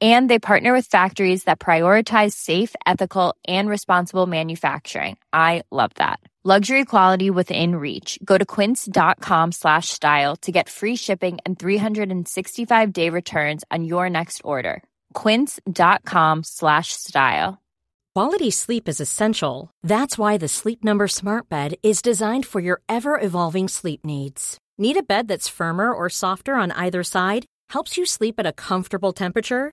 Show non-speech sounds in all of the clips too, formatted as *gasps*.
And they partner with factories that prioritize safe, ethical, and responsible manufacturing. I love that. Luxury quality within reach. Go to quince.com slash style to get free shipping and 365 day returns on your next order. Quince.com slash style. Quality sleep is essential. That's why the Sleep Number Smart Bed is designed for your ever evolving sleep needs. Need a bed that's firmer or softer on either side? Helps you sleep at a comfortable temperature?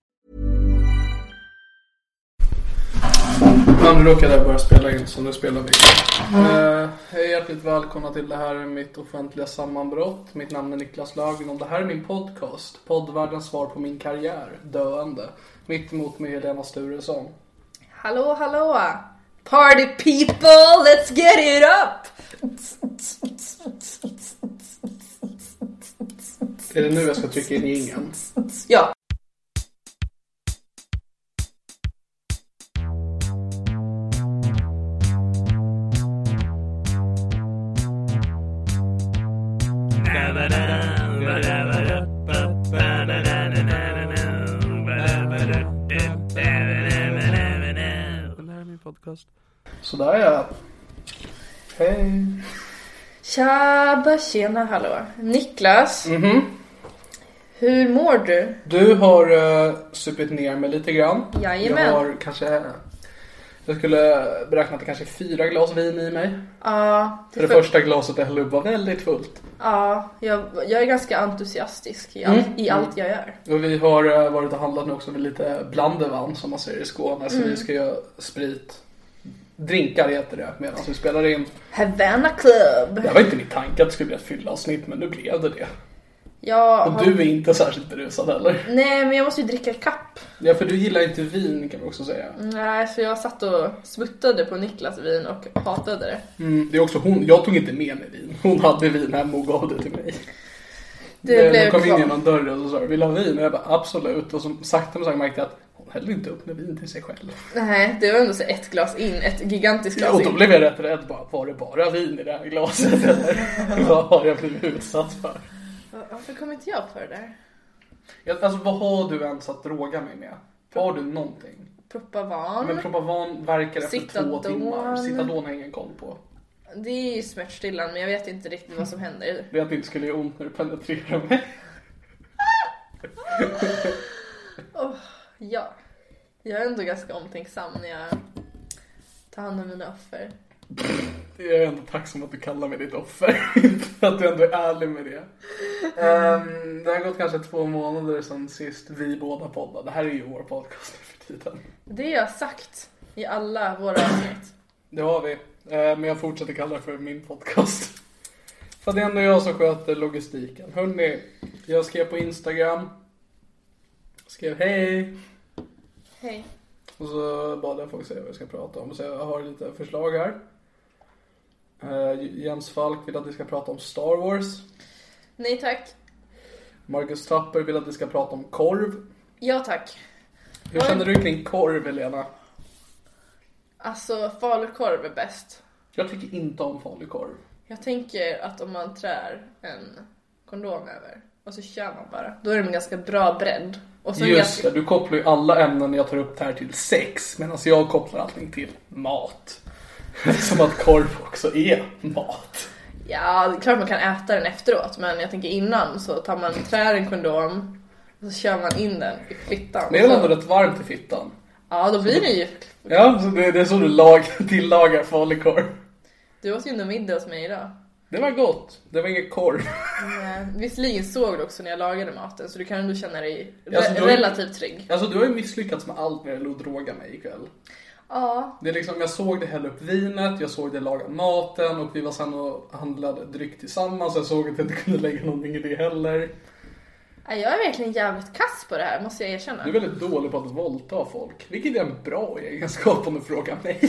Ja, nu råkade jag börja spela in så nu spelar vi. Eh, hej hjärtligt välkomna till det här är mitt offentliga sammanbrott. Mitt namn är Niklas Lögren och det här är min podcast. Poddvärldens svar på min karriär, Döende. Mitt emot mig Helena Sturesson. Hallå hallå! Party people, let's get it up! Är det nu jag ska trycka in jingeln? Ja, Det här är min podcast. Sådär ja. Hej. tjaba tjena hallå. Niklas, Mhm. hur mår du? Du har eh, supit ner mig lite grann. Jajamän. Jag har kanske... Jag skulle beräkna att det kanske är fyra glas vin i mig. Ja, För det för- första glaset jag hällde upp var väldigt fullt. ja jag, jag är ganska entusiastisk i, all, Mm, i allt jag gör. Och vi har eh, varit och handlat nu också med lite blandevann som man säger i Skåne. Så Mm. vi ska göra sprit. Drinkar heter det medan vi spelar in. Havana Club! Det var inte min tanke att det skulle bli ett fyllavsnitt men nu blev det det. Jag Och har, du är inte särskilt berusad heller. Nej men jag måste ju dricka kapp. Ja för du gillar inte vin kan vi också säga. Nej, så jag satt och smuttade på Niklas vin och hatade det. Mm, det är också hon, jag tog inte med mig vin. Hon hade vin hemma och gav det till mig. Det hon blev kom in kvar. genom dörren och så sa vill du ha vin? Och jag bara absolut. Och som sakta men säkert märkte jag att hon hällde inte upp med vin till sig själv. Nej, det var ändå så ett glas in, ett gigantiskt Ja, glas och då in. blev jag rätt rädd bara, var det bara vin i det här glaset eller vad har jag blivit utsatt för? Va- Varför kom inte jag på det där? Jag- Alltså vad har du ens att droga mig med? Har du någonting? Propovan. Men Probavan verkar efter två Citadol. timmar. Citadon har jag ingen koll på. Det är ju smärtstillande men jag vet inte riktigt vad som händer. Det är att det inte skulle göra ont när du penetrerar mig. Ja. Jag är ändå ganska omtänksam när jag tar hand om mina offer. Jag är ändå tacksam att du kallar mig ditt offer. *laughs* att du ändå är ärlig med det. Ehm, det har gått kanske två månader sedan sist vi båda poddade. Det här är ju vår podcast nu för tiden. Det har jag sagt i alla våra avsnitt. Det har vi. Eh, Men jag fortsätter kalla det för min podcast. För det är ändå jag som sköter logistiken. Hörrni, jag skrev på Instagram. Skrev hej. Hej. Och så bad jag folk säga vad jag ska prata om. Så jag har lite förslag här. Eh, Jens Falk vill att vi ska prata om Star Wars. Nej tack. Marcus Tapper vill att vi ska prata om korv. Ja tack. Hur känner du kring korv, Helena? Alltså falukorv är bäst. Jag tycker inte om falukorv. Jag tänker att om man trär en kondom över och så kör man bara. Då är det en ganska bra bredd. Och så Just ganska... det, du kopplar ju alla ämnen jag tar upp här till sex medan jag kopplar allting till mat. *laughs* Som att korv också är mat. Ja, det är klart man kan äta den efteråt men jag tänker innan så tar man, trär en kondom och så kör man in den i fittan. Men det är väl Så- ändå rätt varmt i fittan? Ja, då blir det ju... Alltså- Ja, så det, det är så du lag, *laughs* tillagar falukorv. Du åt ju ändå middag hos mig idag. Det var gott, det var ingen korv. *laughs* Men, Visserligen såg du också när jag lagade maten så du kan ändå känna dig re- Alltså, du- relativt trygg. Alltså du har ju misslyckats med allt när det gäller att droga mig ikväll. Ja, Det är liksom, jag såg det hälla upp vinet, jag såg det laga maten och vi var sen och handlade dryck tillsammans. Jag såg att jag inte kunde lägga någonting i det heller. Nej, jag är verkligen jävligt kass på det här måste jag erkänna. Du är väldigt dålig på att våldta folk, vilket är en bra egenskap om du frågar mig.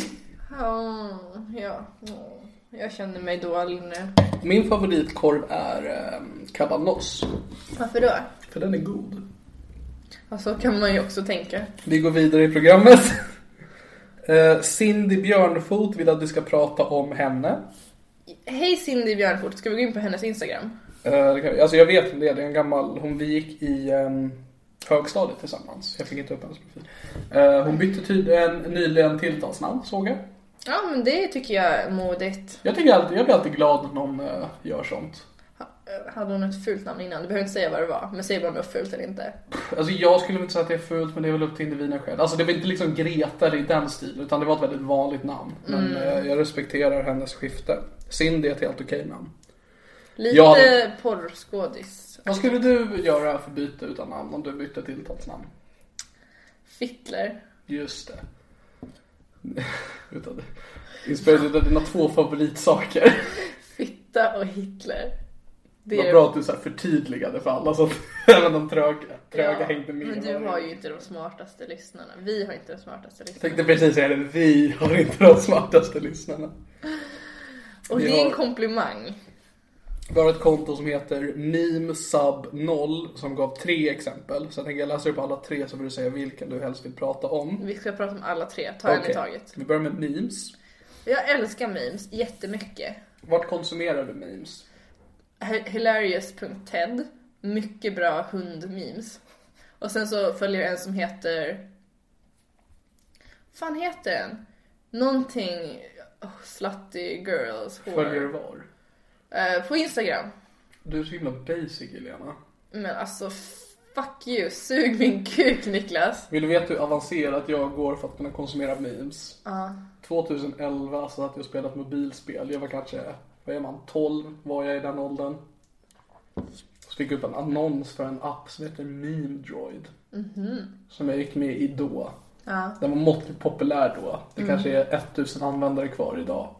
Ja, ja. ja. Jag känner mig dålig nu. Min favoritkorv är eh, cabanos, Varför då? för den är god. Ja, så kan man ju också tänka. Vi går vidare i programmet. *laughs* Eh, Cindy Björnfot vill att vi ska prata om henne. Hej Cindy Björnfort, ska vi gå in på hennes Instagram? Eh, det kan- Alltså jag vet om det, det är en gammal, hon, vi gick i ehm, högstadiet tillsammans. Jag fick inte upp hennes profil. Eh, hon bytte tydligen nyligen tilltalsnamn såg jag. Ja, men det tycker jag är modigt. Jag, tycker alltid, jag blir alltid glad när någon eh, gör sånt. Ha- eh, Hade hon ett fult namn innan? Du behöver inte säga vad det var, men säg bara om det var fult eller inte. Alltså jag skulle inte säga att det är fult men det är väl upp till individen själv. Alltså det var inte liksom Greta eller i den stilen utan det var ett väldigt vanligt namn. Mm. Men eh, jag respekterar hennes skifte. Cindy är ett helt okej namn. Lite Jag hade- porrskådis. Vad skulle du göra för byte utan namn om du bytte tilltalsnamn? Fittler. Just det. *laughs* Utan Inspirerad av dina två favoritsaker. Fitta och Hitler. Det Vad bra att du så här förtydligade för alla så att *laughs* även de tröga, tröga Ja, hängde med. Men du har ju inte de smartaste lyssnarna. Vi har inte de smartaste Jag lyssnarna. tänkte precis säga det, vi har inte de smartaste lyssnarna. Och vi det är en har- komplimang. Vi har ett konto som heter memesub0 som gav tre exempel. Så jag tänker jag läser upp alla tre så får du säga vilken du helst vill prata om. Vi ska prata om alla tre, ta en i Okej. taget. Vi börjar med memes. Jag älskar memes jättemycket. Vart konsumerar du memes? Hi- Hilarious.ted. Mycket bra hundmemes. Och sen så följer jag en som heter... fan heter den? Någonting... Oh, slutty girls. whore. Följer du var? Eh, på Instagram. Du är så himla basic Helena. Men alltså fuck you. Sug min kuk Niklas. Vill du veta hur avancerat jag går för att kunna konsumera memes? Ja. 2011 så hade jag spelat mobilspel. Jag var kanske, vad är man, 12 var jag i den åldern. Så fick jag upp en annons för en app som heter Meme Droid. Som jag gick med i då. Mhm. Ja. Mm. Den var måttligt populär då. Det kanske är 1000 användare kvar idag.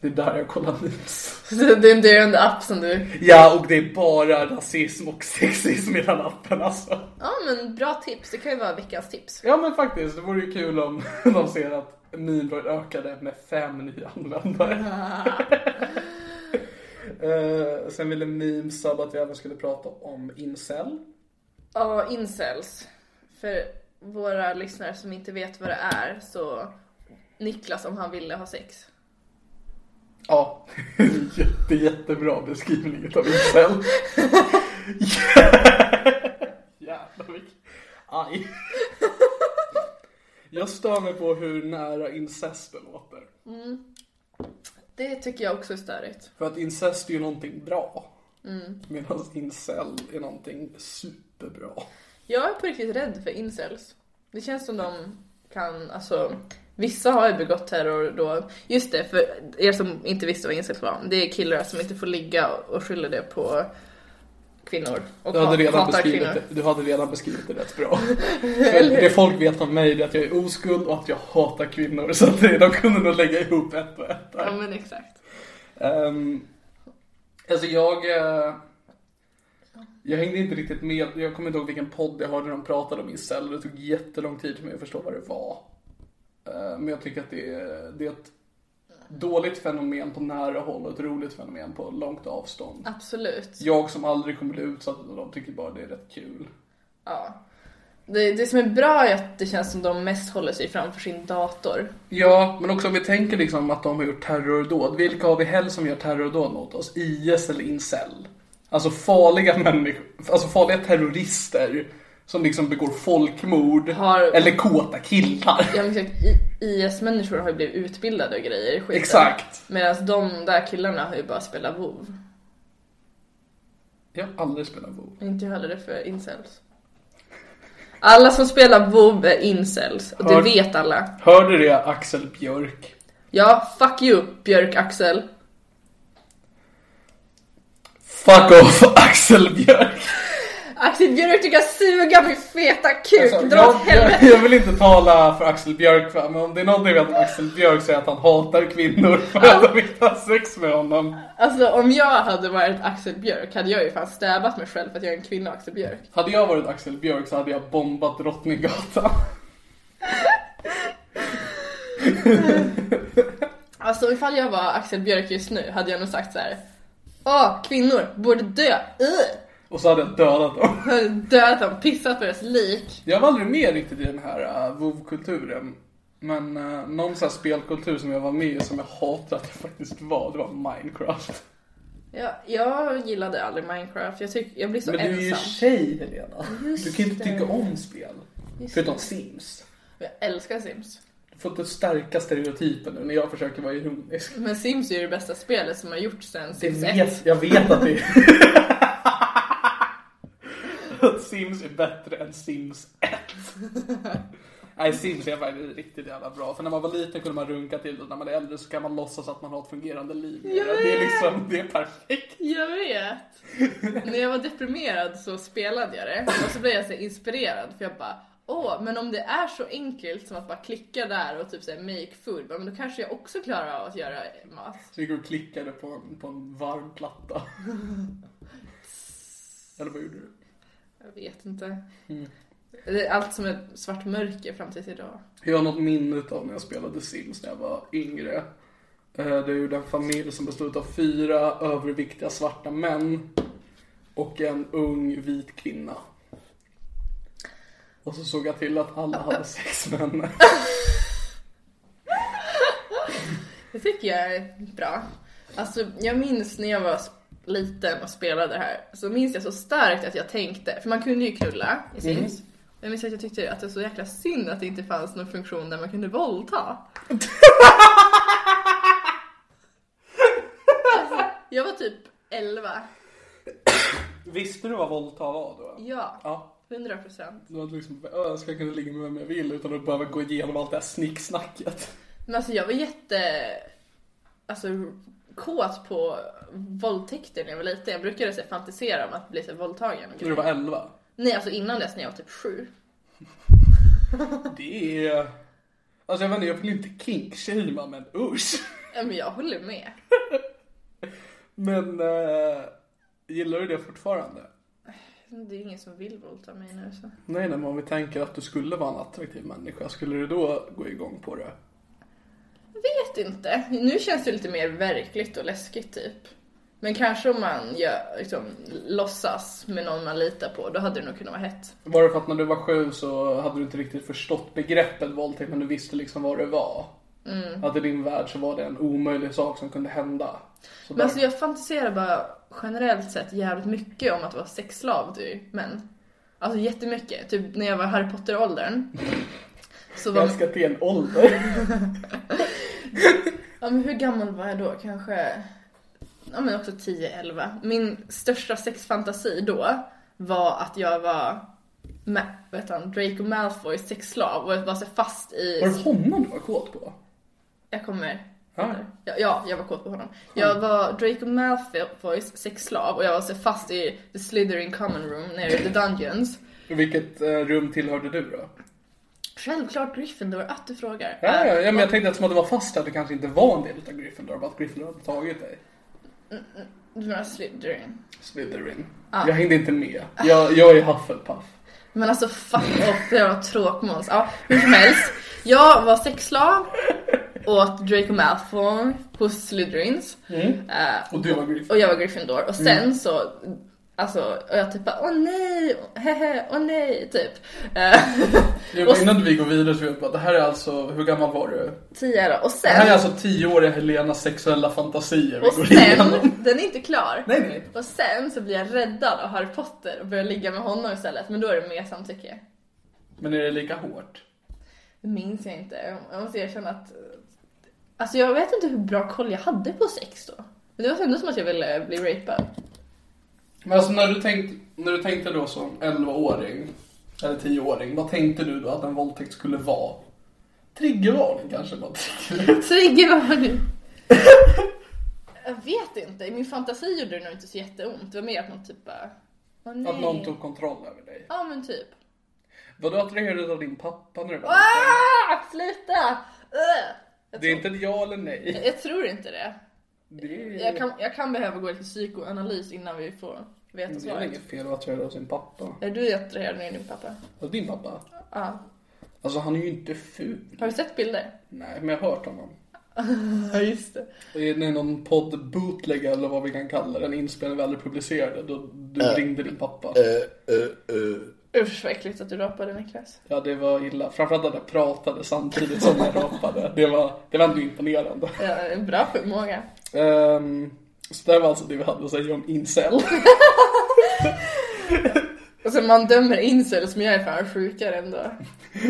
Det är där jag kollar memes. Så Det är en döende app som du... Ja, och det är bara rasism och sexism i den appen alltså. Ja men bra tips. Det kan ju vara veckans tips. Ja men faktiskt, det vore ju kul om *laughs* de ser att Mimroid ökade med fem nya användare. Eh, sen ville Memesub att vi även skulle prata om incel. Ja, incels. För våra lyssnare som inte vet vad det är så Niklas om han ville ha sex. Ja, *laughs* jätte jättebra beskrivning av incel. Jävlar vilken... Aj. Jag stör mig på hur nära incest det låter. Det tycker jag också är störigt. För att incest är ju någonting bra. Mm. Medan incel är någonting superbra. Jag är på riktigt rädd för incels. Det känns som de kan, alltså Vissa har ju begått terror då. Just det, för er som inte visste vad incels var. Det är killar som inte får ligga och skyller det på kvinnor. Och Du hade, hat- redan hatar beskrivit kvinnor. det, du hade redan beskrivit det rätt *laughs* bra. För det folk vet om mig är att jag är oskuld och att jag hatar kvinnor. Så att det- de kunde nog lägga ihop ett och ett Ja där. men exakt. Ehm, alltså jag... eh, Jag hängde inte riktigt med. Jag kommer inte ihåg vilken podd jag hörde de pratade om incel. Det tog jättelång tid för mig att förstå vad det var. Eh, Men jag tycker att det är, det är ett dåligt fenomen på nära håll och ett roligt fenomen på långt avstånd. Absolut. Jag som aldrig kommer bli utsatt av dem tycker bara det är rätt kul. Ja. Det, det som är bra är att det känns som de mest håller sig framför sin dator. Ja, men också om vi tänker liksom att de har gjort terrordåd. Vilka har vi helst som gör terrordåd mot oss? IS eller incel? Alltså farliga människor, alltså farliga terrorister som liksom begår folkmord Har- eller kåta killar. *laughs* Ja, men exakt. I- IS-människor har ju blivit utbildade och grejer. i skiten. Exakt. Medan de där killarna har ju bara spelat WoW. Jag har aldrig spelat WoW. Inte jag heller det för incels. Alla som spelar WoW är incels. Och det Hör- vet alla. Hörde du det Axel Björk? Ja, fuck you Björk Axel. Fuck off *laughs* Axel Björk! Axel Björk du kan suga min feta kuk, Alltså, dra åt jag, jag, helvete. jag vill inte tala för Axel Björk va, men om det är någonting jag vet om Axel Björk så är det att han hatar kvinnor för att de inte har sex med honom. Alltså om jag hade varit Axel Björk hade jag ju fan stävat mig själv för att jag är en kvinna Axel Björk. Hade jag varit Axel Björk så hade jag bombat Drottninggatan. *laughs* Alltså ifall jag var Axel Björk just nu hade jag nog sagt så här. Åh, kvinnor borde dö! Ugh! Och så hade jag dödat dem. *laughs* Jag hade dödat dem, pissat på deras lik. Jag var aldrig med riktigt i den här uh, WoW-kulturen. Men uh, någon sån här spelkultur som jag var med i som jag hatar att jag faktiskt var, det var Minecraft. Jag, jag gillade aldrig Minecraft, jag, tyck, jag blir så Men du är ju ensam. tjej Helena. du kan ju inte det. tycka om spel. Förutom Sims. Jag älskar Sims. Du får inte stärka stereotypen nu när jag försöker vara ironisk. Men Sims är ju det bästa spelet som har gjorts sen Det Sims 1. vet, jag vet att det är... att Sims är bättre än Sims 1. Nej, Sims är faktiskt riktigt jävla bra. För när man var liten kunde man runka till det, när man är äldre så kan man låtsas att man har ett fungerande liv. Jag det är vet. liksom, det är perfekt. Jag vet! När jag var deprimerad så spelade jag det och så blev jag så här inspirerad för jag bara Åh, men om det är så enkelt som att bara klicka där och typ säga make food, men då kanske jag också klarar av att göra mat. Så gick och klickade på en, på en varm platta. Eller vad gjorde du? Jag vet inte. Det är allt som är svart mörker fram tills idag. Jag har något minne av när jag spelade Sims när jag var yngre. Eh, Det är ju den familj som bestod av fyra överviktiga svarta män och en ung vit kvinna. Och så såg jag till att alla hade sex med henne. Det tycker jag är bra. Alltså, jag minns när jag var sp- liten och spelade det här, så minns jag så starkt att jag tänkte, för man kunde ju knulla i Sims. Jag minns att jag tyckte att det var så jäkla synd att det inte fanns någon funktion där man kunde våldta. alltså, jag var typ 11. *laughs* Visste du vad våldta var då? Ja, Ja. 100 procent. Du hade liksom, "Ö, jag ska kunna ligga med vem jag vill utan att behöva gå igenom allt det här snicksnacket. Men alltså jag var jätte... Alltså kåt på våldtäkter när jag var liten. Jag brukade så här, fantisera om att bli så här, våldtagen. och När du grejer. var 11. Nej, alltså innan dess när jag var typ sju. Det är... Alltså jag vet inte, jag vill inte kinkshamea men usch. Ja, Men jag håller med. Men eh, gillar du det fortfarande? Det är ju ingen som vill våldta mig nu så. Nej, nej, men om vi tänker att du skulle vara en attraktiv människa, skulle du då gå igång på det? Vet inte. Nu känns det lite mer verkligt och läskigt typ. Men kanske om man gör, liksom, låtsas med någon man litar på, då hade det nog kunnat vara hett. Var det för att när du var sju så hade du inte riktigt förstått begreppet våldtäkt, men du visste liksom vad det var? Att i din värld så var det en omöjlig sak som kunde hända. Så Men där, alltså jag fantiserar bara generellt sett jävligt mycket om att vara sexslav till män. Alltså jättemycket. Typ när jag var Harry Potter-åldern. Så var jag ska till en ålder. ja, men hur gammal var jag då? Kanske, ja men också 10-11. Min största sexfantasi då var att jag var Ma- vad heter han, Draco Malfoys sexslav och jag var så fast Var i... det Ah. honom du var kåt på? Jag kommer Ja. Ja, ja, jag var kåt på honom. Ah. Jag var Draco Malfoys sexslav och jag var så fast i the Slytherin common room nere i the dungeons. Vilket eh, rum tillhörde du då? Självklart Gryffindor, att du frågar. Ja, ja, Äh, ja, men jag tänkte att som att du var fast där, du kanske inte var en del av Gryffindor, bara att Gryffindor hade tagit dig. Du menar Slytherin. Slytherin. Jag hängde inte med. Jag, jag är Hufflepuff. Men alltså fuck off, det var tråkmåns. Ja, hur som helst. Jag var sexslav åt Draco Malfoy hos Slytherins. Eh, Och du var Gryffindor. Mm. Och jag var Gryffindor. Och sen så Alltså, och jag typ bara, åh nej, hehe, åh nej, typ. Eh, Jag bara, innan vi går vidare så vill jag bara, det här är alltså, hur gammal var du? Tio då. Och Det här är sen, alltså tioåriga Helenas sexuella fantasier vi och går igenom. sen, den är inte klar. Nej, nej. Och sen så blir jag räddad av Harry Potter och börjar ligga med honom istället, men då är det mer samtycke. Men är det lika hårt? Det minns jag inte. Jag måste erkänna att... Alltså jag vet inte hur bra koll jag hade på sex då. Men det var ändå som att jag ville bli rapad. Men alltså när du, tänkt, när du tänkte då som 11-åring, eller 10-åring, vad tänkte du då att en våldtäkt skulle vara? Triggervarning kanske? bara. Triggervarning! jag vet inte. I min fantasi gjorde det nog inte så jätteont. Det var mer att någon typ bara... Åh, nej. Att någon tog kontroll över dig. Ja men typ. Var du attraherad av din pappa när du var liten? Ah! Sluta! Ugh! Jag, Det är tror, inte ett ja eller nej. jag tror inte det. Det är, Jag kan, jag kan behöva gå lite psykoanalys innan vi får veta det är svaret. Alltså, inget fel att vara attraherad av sin pappa. Är du attraherad nu din pappa? Av din pappa? Ja. Alltså han är ju inte ful. Har du sett bilder? Nej, men jag har hört honom. Ja just det. Det är någon podd bootleg eller vad vi kan kalla den, inspelning vi aldrig publicerade, då du ringde din pappa. Usch vad äckligt att du rapade Niklas. Ja, det var illa. Framförallt att jag pratade samtidigt som jag rapade. Det var, det var ändå imponerande. Ja, Eh, en bra förmåga. Ehm, så det var alltså det vi hade att säga om incel. *laughs* Alltså man dömer incels men jag är fan sjukare ändå.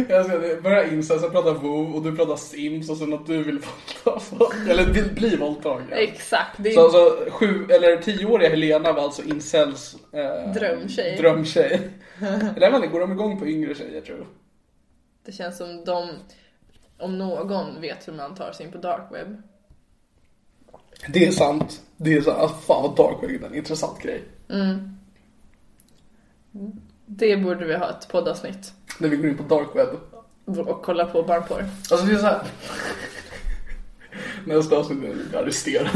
Jag ska börja incel, sen prata WoW och du pratar Sims och sen att du vill våldta folk. Eller vill bli våldtagen. Exakt, det är Så alltså sju, eller tioåriga Helena var alltså incels eh, Drömtjej. drömtjej. Eller jag vet inte, går de igång på yngre tjejer tror jag? Det känns som de, om någon, vet hur man tar sig in på dark web. Det är sant. Det är sant. Alltså, fan vad dark web är en intressant grej. Det borde vi ha ett poddavsnitt När vi går in på dark web. och kolla på barnporr. Alltså det är så här. Nästa avsnitt blir vi arresterade.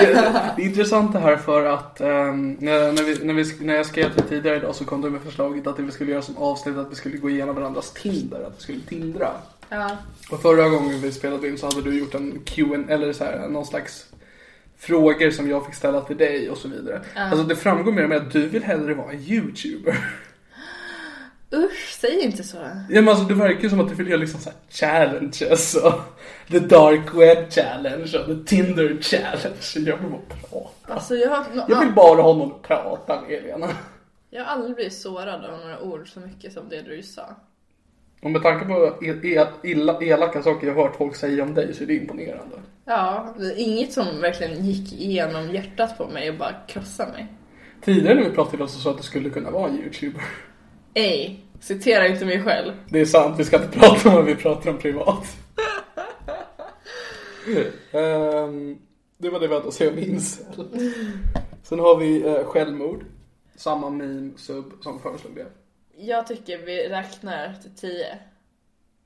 det, det är intressant det här för att ehm, när, när, vi, när, vi, när jag skrev det tidigare idag så kom du med förslaget att det vi skulle göra som avsnitt att vi skulle gå igenom varandras Tinder, att vi skulle tindra. Ja. Och förra gången vi spelade in så hade du gjort en Q&A eller så här, någon slags frågor som jag fick ställa till dig och så vidare. Alltså det framgår mer och mer att du vill hellre vara en YouTuber. Usch, säg inte så. Ja, men alltså, det verkar ju som att du vill göra liksom så här challenges och the dark web challenge och the tinder challenge. Jag vill bara prata. Alltså jag har, Jag vill bara ha någon att prata med Helena. jag har aldrig blivit sårad av några ord så mycket som det du sa. Och med tanke på el- el- illa, elaka saker jag har hört folk säga om dig så är det imponerande. Ja, det är inget som verkligen gick igenom hjärtat på mig och bara krossade mig. Tidigare när vi pratade så sa att du skulle kunna vara en youtuber. Ej, citera inte mig själv. Det är sant, vi ska inte prata om vad vi pratar om privat. Ehm, det var det vi hade att säga om incel. Sen har vi eh, självmord. Samma meme sub som föreslog det. Jag tycker vi räknar till tio.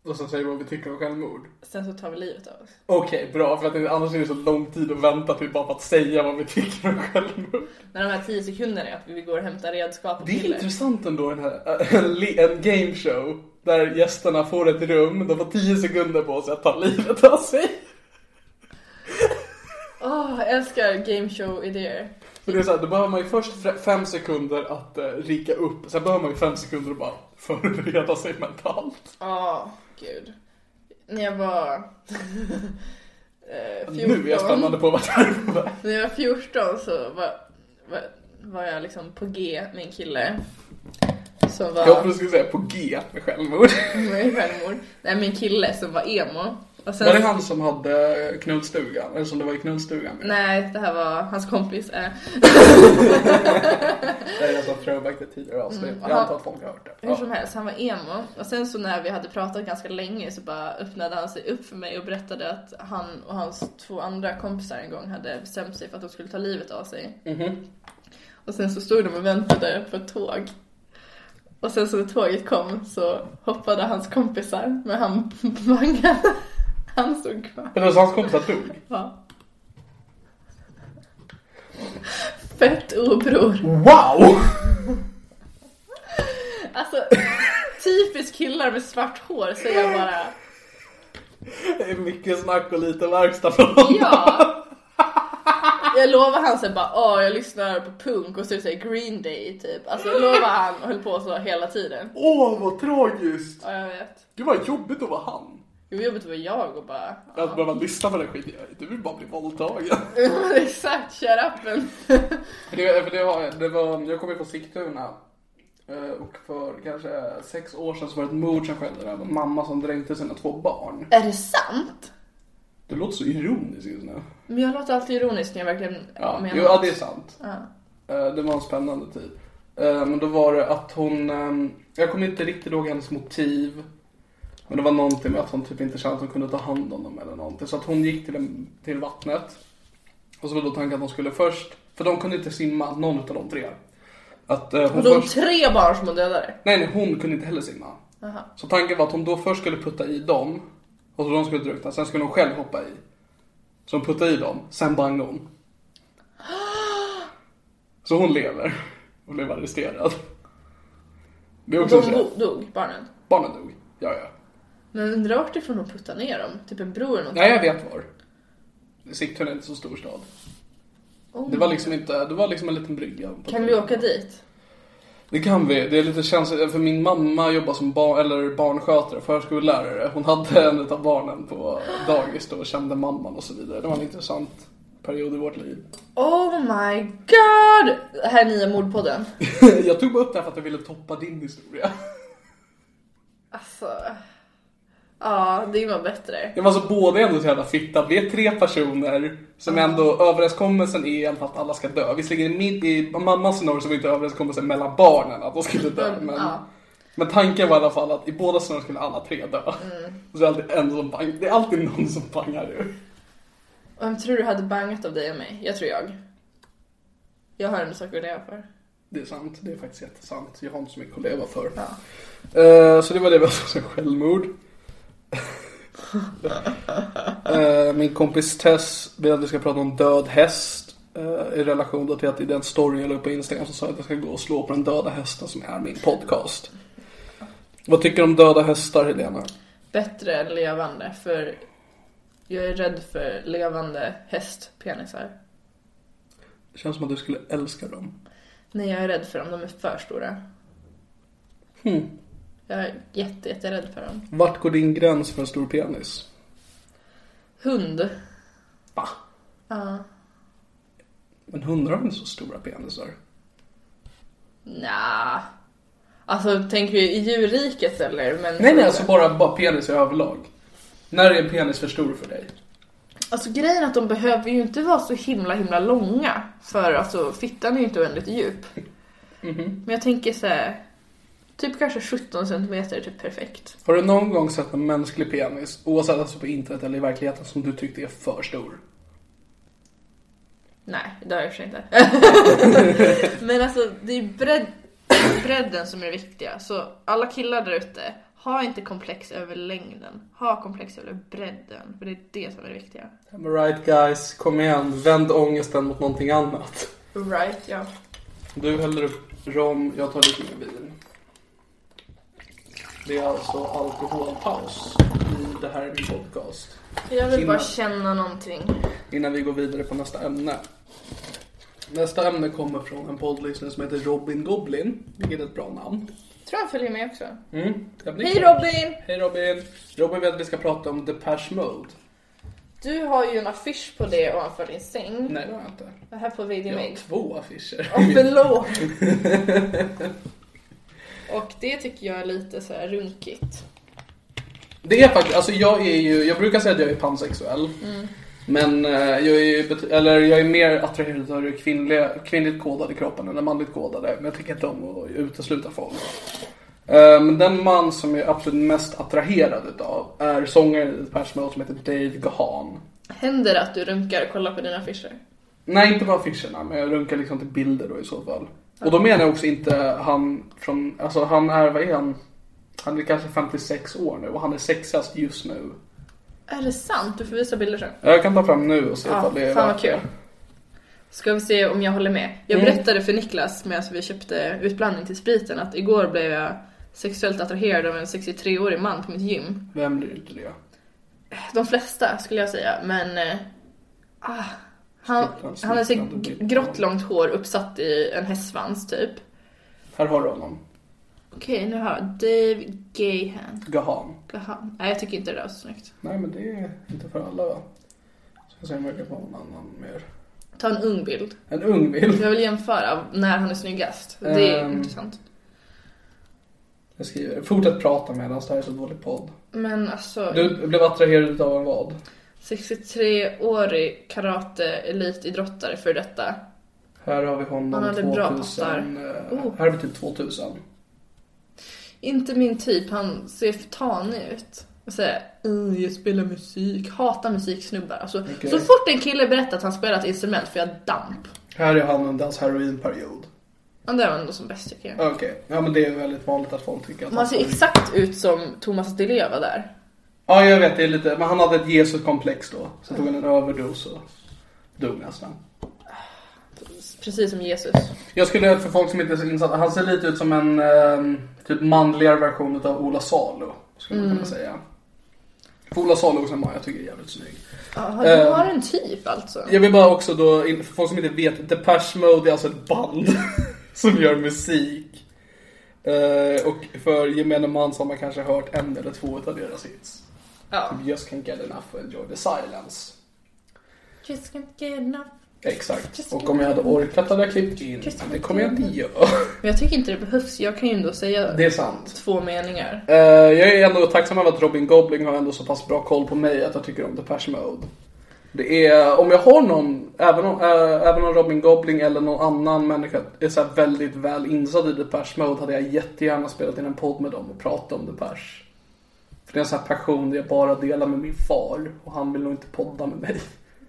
Och sen säger vi vad vi tycker om självmord. Sen så tar vi livet av oss. Okej, bra. För att det, annars är det så lång tid att vänta till bara för att säga vad vi tycker om självmord. När de här tio sekunderna är att vi går och hämtar redskap och Det är piller. intressant ändå den här, en, li- *laughs* en gameshow. Där gästerna får ett rum, de får 10 sekunder på sig att ta livet av sig. Åh, jag älskar game show idéer. För det är så här, då behöver man ju först fre- fem sekunder att eh, rigga upp, sen behöver man ju fem sekunder att bara förbereda sig mentalt. Åh, gud. När jag var... *laughs* eh, 14, Nu är jag spännande på vad det här är på väg. När jag var 14 så var, var, var jag liksom på G med en kille. Som var... Jag hoppades du skulle säga på G med självmord. med självmord. Nej, *laughs* min kille som var emo. Och sen, Var det han som hade knullstugan? Eller som det var i knullstugan? med? Nej, det här var hans kompis. eh. Nej, jag sa throwback till tidigare avsnitt. Mm, Jag aha. antar att folk har hört det. Hur som Ja. helst, han var emo. Och sen så när vi hade pratat ganska länge så bara öppnade han sig upp för mig och berättade att han och hans två andra kompisar en gång hade bestämt sig för att de skulle ta livet av sig. Och sen så stod de och väntade på ett tåg. Och sen så när tåget kom så hoppade hans kompisar, men han bangade. *laughs* Han stod kvar. Men alltså hans kompisar dog? Ja. Fett obror. Wow! Alltså, typiskt killar med svart hår säger jag bara. Det är mycket snack och lite verkstad från honom. Ja! *laughs* Jag lovar han sen bara åh jag lyssnar på punk och så är det så här Green Day typ. Alltså jag lovar han och höll på så hela tiden. Åh, vad tragiskt! Ja jag vet. Det var jobbigt att vara han. Det var jobbigt att vara jag och *laughs* bara Att behöva lyssna på den skiten. Du vill bara bli våldtagen. "Alltså, exakt shut up men. *laughs* Det, för det var, det var, jag kom ju från Sigtuna. eh, Och för kanske sex år sedan så var det ett mord som skedde där. Det var en mamma som dränkte sina två barn. Är det sant? Det låter så ironiskt just nu. Men jag låter alltid ironisk när jag verkligen Ja, menar jo, ja det är sant. Ja. Eh, Det var en spännande tid. Eh, Men då var det att hon, ehm, jag kommer inte riktigt ihåg hennes motiv. Men det var någonting med att hon typ inte kände att hon kunde ta hand om dem eller någonting. Så att hon gick till, en, till vattnet. Och så var då tanken att hon skulle först, för de kunde inte simma, någon av de tre. Att eh, hon Och de först... tre barn som hon dödade? Nej, nej, hon kunde inte heller simma. Så tanken var att hon då först skulle putta i dem. Och så de skulle drunkna. Sen skulle hon själv hoppa i. Så hon puttade i dem. Sen bangade hon. *gasps* Så hon lever. Och blev arresterad. Det är också De så bo- dog, barnen. Barnen dog. Ja, ja. Men undrar vart ifrån de puttade ner dem? Typ en bro eller någonting? Nej, jag vet var. Sigtuna är inte så stor stad. Oh Det var liksom inte, det var liksom en liten brygga. Kan vi åka dit? Det kan vi. Det är lite känsligt, för min mamma jobbar som barn, eller barnskötare, förskollärare. Hon hade en av barnen på dagis då och kände mamman och så vidare. Det var en intressant period i vårt liv. *laughs* Oh my god! Det här är nya mordpodden. Jag tog bara upp det här för att jag ville toppa din historia. Alltså... Ja, det var bättre. Det var så båda är ändå så jävla fitta. Vi är tre personer som ändå, överenskommelsen är ändå att alla ska dö. Visserligen i, min- i mammans scenario så var inte överenskommelsen mellan barnen att de skulle dö. Mm, Men, ja. men tanken var i alla fall att i båda scenarion skulle alla tre dö. Mm. Och så är det alltid en som bang, det är alltid någon som bangar ur. Vem tror du hade bangat av dig och mig? Jag tror jag. Jag har en sak att leva för. Det är sant, det är faktiskt jättesant. Jag har inte så mycket att leva för. Ja. Eh, så det var det vi hade som självmord. Eh, min kompis Tess vill att vi ska prata om död häst. eh, I relation då till att i den story jag la upp på Instagram så sa jag att jag ska gå och slå på den döda hästen som är min podcast. Vad tycker du om döda hästar Helena? Bättre än levande, för jag är rädd för levande hästpenisar. Det känns som att du skulle älska dem. Nej, jag är rädd för dem. De är för stora. Hmm. Jag är jätte, jätte rädd för dem. Vart går din gräns för en stor penis? Hund. Va? Ja. Men hundar har inte så stora penisar? Nja. Alltså, tänker du i djurriket eller? Men Nej, nej, alltså bara, bara penis i överlag. När är en penis för stor för dig? Alltså grejen är att de behöver ju inte vara så himla himla långa. För alltså fittan är ju inte oändligt djup. Men jag tänker så här, typ kanske 17 centimeter är typ perfekt. Har du någon gång sett en mänsklig penis, oavsett alltså på internet eller i verkligheten, som du tyckte är för stor? Nej, det har jag i och för sig inte. *laughs* Men alltså det är bredd, bredden som är det viktiga. Så alla killar där ute, ha inte komplex över längden. Ha komplex över bredden. För det är det som är det viktiga. Am I right guys, kom igen, vänd ångesten mot någonting annat. Right, ja. Du häller upp rom, jag tar lite mer vin. Det är alltså alkoholpaus i det här är min podcast. Jag vill bara Innan- känna någonting. Innan vi går vidare på nästa ämne. Nästa ämne kommer från en poddlyssnare som heter Robin Goblin, vilket är ett bra namn. Tror han följer med också. Mm. jag blir Hej glad. Robin! Hej Robin! Robin vill att vi ska prata om Depeche Mode. Du har ju en affisch på det ovanför din säng. Nej, det har jag inte. Det här får video Jag mig. har två affischer. Och *laughs* förlåt! Och det tycker jag är lite så här runkigt. Det är faktiskt, alltså jag är ju, jag brukar säga att jag är pansexuell. Mm. Men eh, jag är ju, bet- eller jag är mer attraherad av det kvinnliga, kvinnligt kodade kroppen än den manligt kodade. Men jag tycker inte om att utesluta folk. Eh, Men den man som jag är absolut mest attraherad utav är sångaren i Depeche Mode som heter Dave Gahan. Händer det att du runkar och kollar på dina affischer? Nej, inte på affischerna, men jag runkar liksom till bilder då i så fall. Och då menar jag också inte han från, alltså han är, vad är han? Han är kanske 56 år nu och han är sexigast just nu. Är det sant? Du får visa bilder sen. Jag kan ta fram nu och se Ja, ifall det är fan vad värt det. kul. Ska vi se om jag håller med. Jag Mm. berättade för Niklas medan vi köpte utblandning till spriten att igår blev jag sexuellt attraherad av en 63-årig man på mitt gym. Vem blir inte det? De flesta skulle jag säga, men... eh, Ah, Han, Fruktansvärt han har så liknande bild. grått långt hår uppsatt i en hästsvans typ. Här har du honom. Okej, nu har jag Dave Gahan. Gahan. Gahan. Nej, jag tycker inte det där var så snyggt. Nej men det är inte för alla va? Ska se om jag kan få någon annan mer. Ta en ung bild. En ung bild. Jag vill jämföra när han är snyggast. Det är Ehm. intressant. Jag skriver, fortsätt prata medan det här är så dålig podd. Men alltså, Du blev attraherad av en vad? 63-årig karate-elitidrottare för detta. Här har vi honom Han hade bra 2000. pattar. eh, Oh. Här har vi typ 2000. Inte min typ, han ser för tanig ut. Och säger "Mm, jag spelar musik, hatar musiksnubbar. Alltså, Okej. Så fort en kille berättar att han spelar ett instrument får jag damp. Här är han under hans heroinperiod. Men det är ändå som bäst tycker jag. Okej, ja men det är väldigt vanligt att folk tycker att Man ser han- exakt ut som Thomas Di Leva där. Ja jag vet, det är lite, men han hade ett Jesuskomplex då. Så tog han en överdos och dog nästan. Precis som Jesus. Jag skulle, för folk som inte är så insatta, han ser lite ut som en eh, typ manligare version av Ola Salo. Skulle Mm. man kunna säga. För Ola Salo också en man jag tycker är jävligt snygg. Ja, du Ehm. har en typ alltså. Jag vill bara också då, in- för folk som inte vet, Depeche Mode är alltså ett band *laughs* som gör musik. Eh, och för gemene man så har man kanske hört en eller två av deras hits. Typ Ja. Just can't get enough och enjoy the silence. Just can't get enough. Exakt. Just Och om jag hade orkat hade jag klippt in. Just Men det kommer jag inte göra. *laughs* Men jag tycker inte det behövs, jag kan ju ändå säga Det är sant. två meningar. Eh, jag är ändå tacksam över att Robin Gobling har ändå så pass bra koll på mig att jag tycker om Depeche Mode. Det är, om jag har någon, även om, eh, även om Robin Gobling eller någon annan människa är så här väldigt väl insatt i Depeche Mode hade jag jättegärna spelat in en podd med dem och pratat om Depeche. För det är en sån här passion jag bara delar med min far och han vill nog inte podda med mig.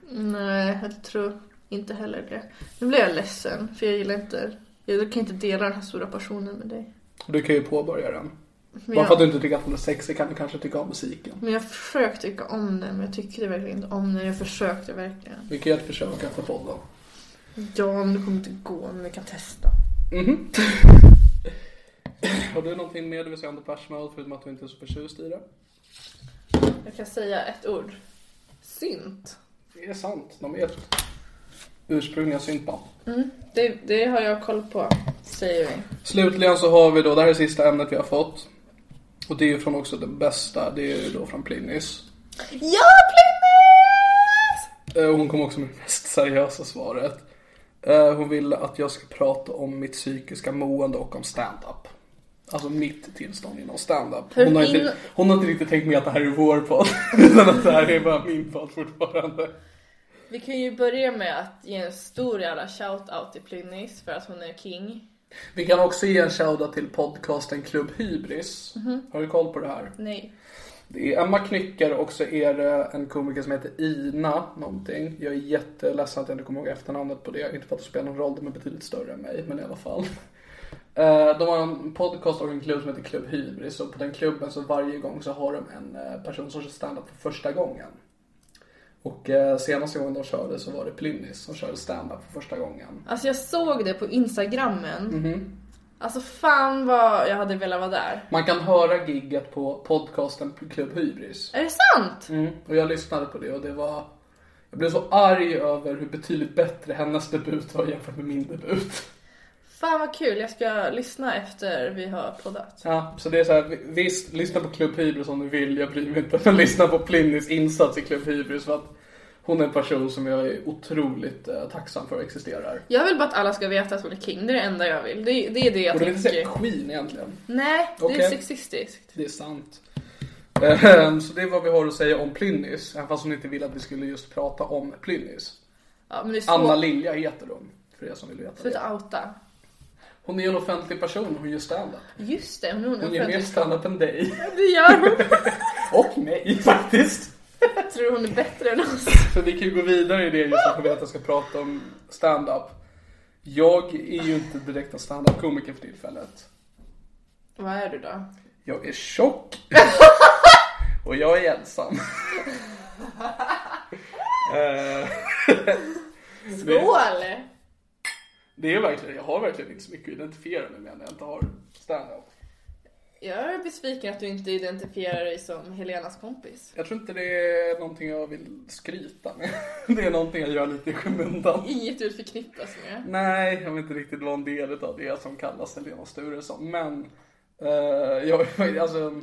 Nej, jag tror inte heller det. Nu blir jag ledsen, för jag gillar inte... Jag kan inte dela den här stora passionen med dig. Du kan ju påbörja den. Men Bara för att du jag, inte tycker att hon är sexig kan du kanske tycka om musiken. men jag försökte tycka om den, men jag tyckte verkligen inte om den. Jag försökte verkligen. Vi kan göra ett försök efter podden. Ja, men det kommer inte gå, men vi kan testa. Mhm. *laughs* Har du någonting mer du vill säga om Depeche Mode förutom att du inte är så förtjust i det? Jag kan säga ett ord. Synt. Det är sant, de är ett ursprungliga syntband. Det, det har jag koll på, säger vi. Slutligen så har vi då, det här är sista ämnet vi har fått. Och det är ju från också det bästa, det är ju då från Plinius. Ja, Plymouth! Eh, Hon kom också med det mest seriösa svaret. Eh, Hon vill att jag ska prata om mitt psykiska mående och om stand-up. Alltså mitt tillstånd inom stand-up. Hon har, Hur in- inte, hon har inte riktigt tänkt med att det här är vår podd. *laughs* Utan att det här är bara min podd fortfarande. Vi kan ju börja med att ge en stor jävla shout-out till Plynnis för att hon är king. Vi kan också ge en shoutout till podcasten Klubb Hybris. Har du koll på det här? Nej. Det är Emma Knycker och så är det en komiker som heter Ina någonting. Jag är jätteledsen att jag inte kommer ihåg efternamnet på det. Inte för att det spelar någon roll, de är betydligt större än mig, men i alla fall. Eh, De har en podcast och en klubb som heter Klubb Hybris och på den klubben så varje gång så har de en eh, person som kör standup för första gången. Och eh, senaste gången de körde så var det Plynnis som körde standup för första gången. Alltså jag såg det på instagrammen. Alltså fan vad jag hade velat vara där. Man kan höra gigget på podcasten Klubb Hybris. Är det sant? Mm. Och jag lyssnade på det och det var... Jag blev så arg över hur betydligt bättre hennes debut var jämfört med min debut. Fan vad kul, jag ska lyssna efter vi har poddat. Ja, så det är så här, visst, lyssna på Klubb Hybris om du vill, jag bryr mig inte. Men lyssna på Plynnis insats i Klubb Hybris för att hon är en person som jag är otroligt eh, tacksam för existerar. Jag vill bara att alla ska veta att hon är king, det är det enda jag vill. Det, det är det jag Och det är inte så tänker. här queen egentligen. Nej, det Okej. är sexistiskt. Det är sant. Ehm, Så det är vad vi har att säga om Plynnis, även fast hon inte ville att vi skulle just prata om Plynnis. Ja, men det är svårt. Anna Lilja heter hon, för er som vill veta det. Sluta outa. Hon är en offentlig person, hon gör standup. Just det, hon är Hon gör mer offentlig. standup än dig. *laughs* Det gör hon. Och mig *laughs* faktiskt. Jag tror hon är bättre än oss. Så vi kan ju gå vidare i det just eftersom vi att jag ska prata om standup. Jag är ju inte direkt en standup-komiker för tillfället. Vad är du då? Jag är tjock. Och jag är ensam. Eh, Skål! det är verkligen, jag har verkligen inte så mycket att identifiera mig med när jag inte har standup. Jag är besviken att du inte identifierar dig som Helenas kompis. Jag tror inte det är någonting jag vill skryta med. *laughs* Det är någonting jag gör lite i skymundan. Inget du förknippas med. Nej, jag vill inte riktigt vara en del av det som kallas Helena Sturesson. Men eh, jag, *laughs* alltså,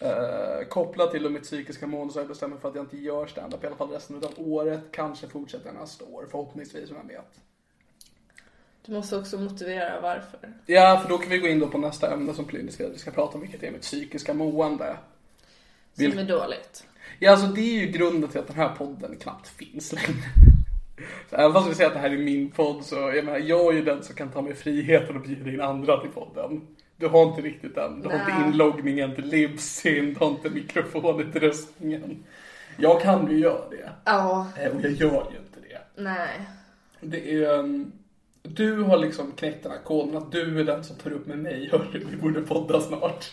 eh, kopplat till mitt psykiska mående så har jag bestämt mig för att jag inte gör standup i alla fall resten av året. Kanske fortsätter jag nästa år, förhoppningsvis, vem vet. Du måste också motivera varför. Ja, för då kan vi gå in då på nästa ämne som kliniska vi ska prata om, vilket är mitt psykiska mående. Som är dåligt. Ja, alltså det är ju grunden till att den här podden knappt finns längre. Så även fast vi säger att det här är min podd så, jag menar, jag är ju den som kan ta mig friheten och bjuda in andra till podden. Du har inte riktigt den, du har inte Nej. inloggningen till Libsyn, du har inte mikrofonutrustningen. Jag kan ju göra det, Ja, Eh, och jag gör ju inte det. nej. Det är, ehm, du har liksom knäckt den här koden att du är den som tar upp med mig, hörru, vi borde podda snart.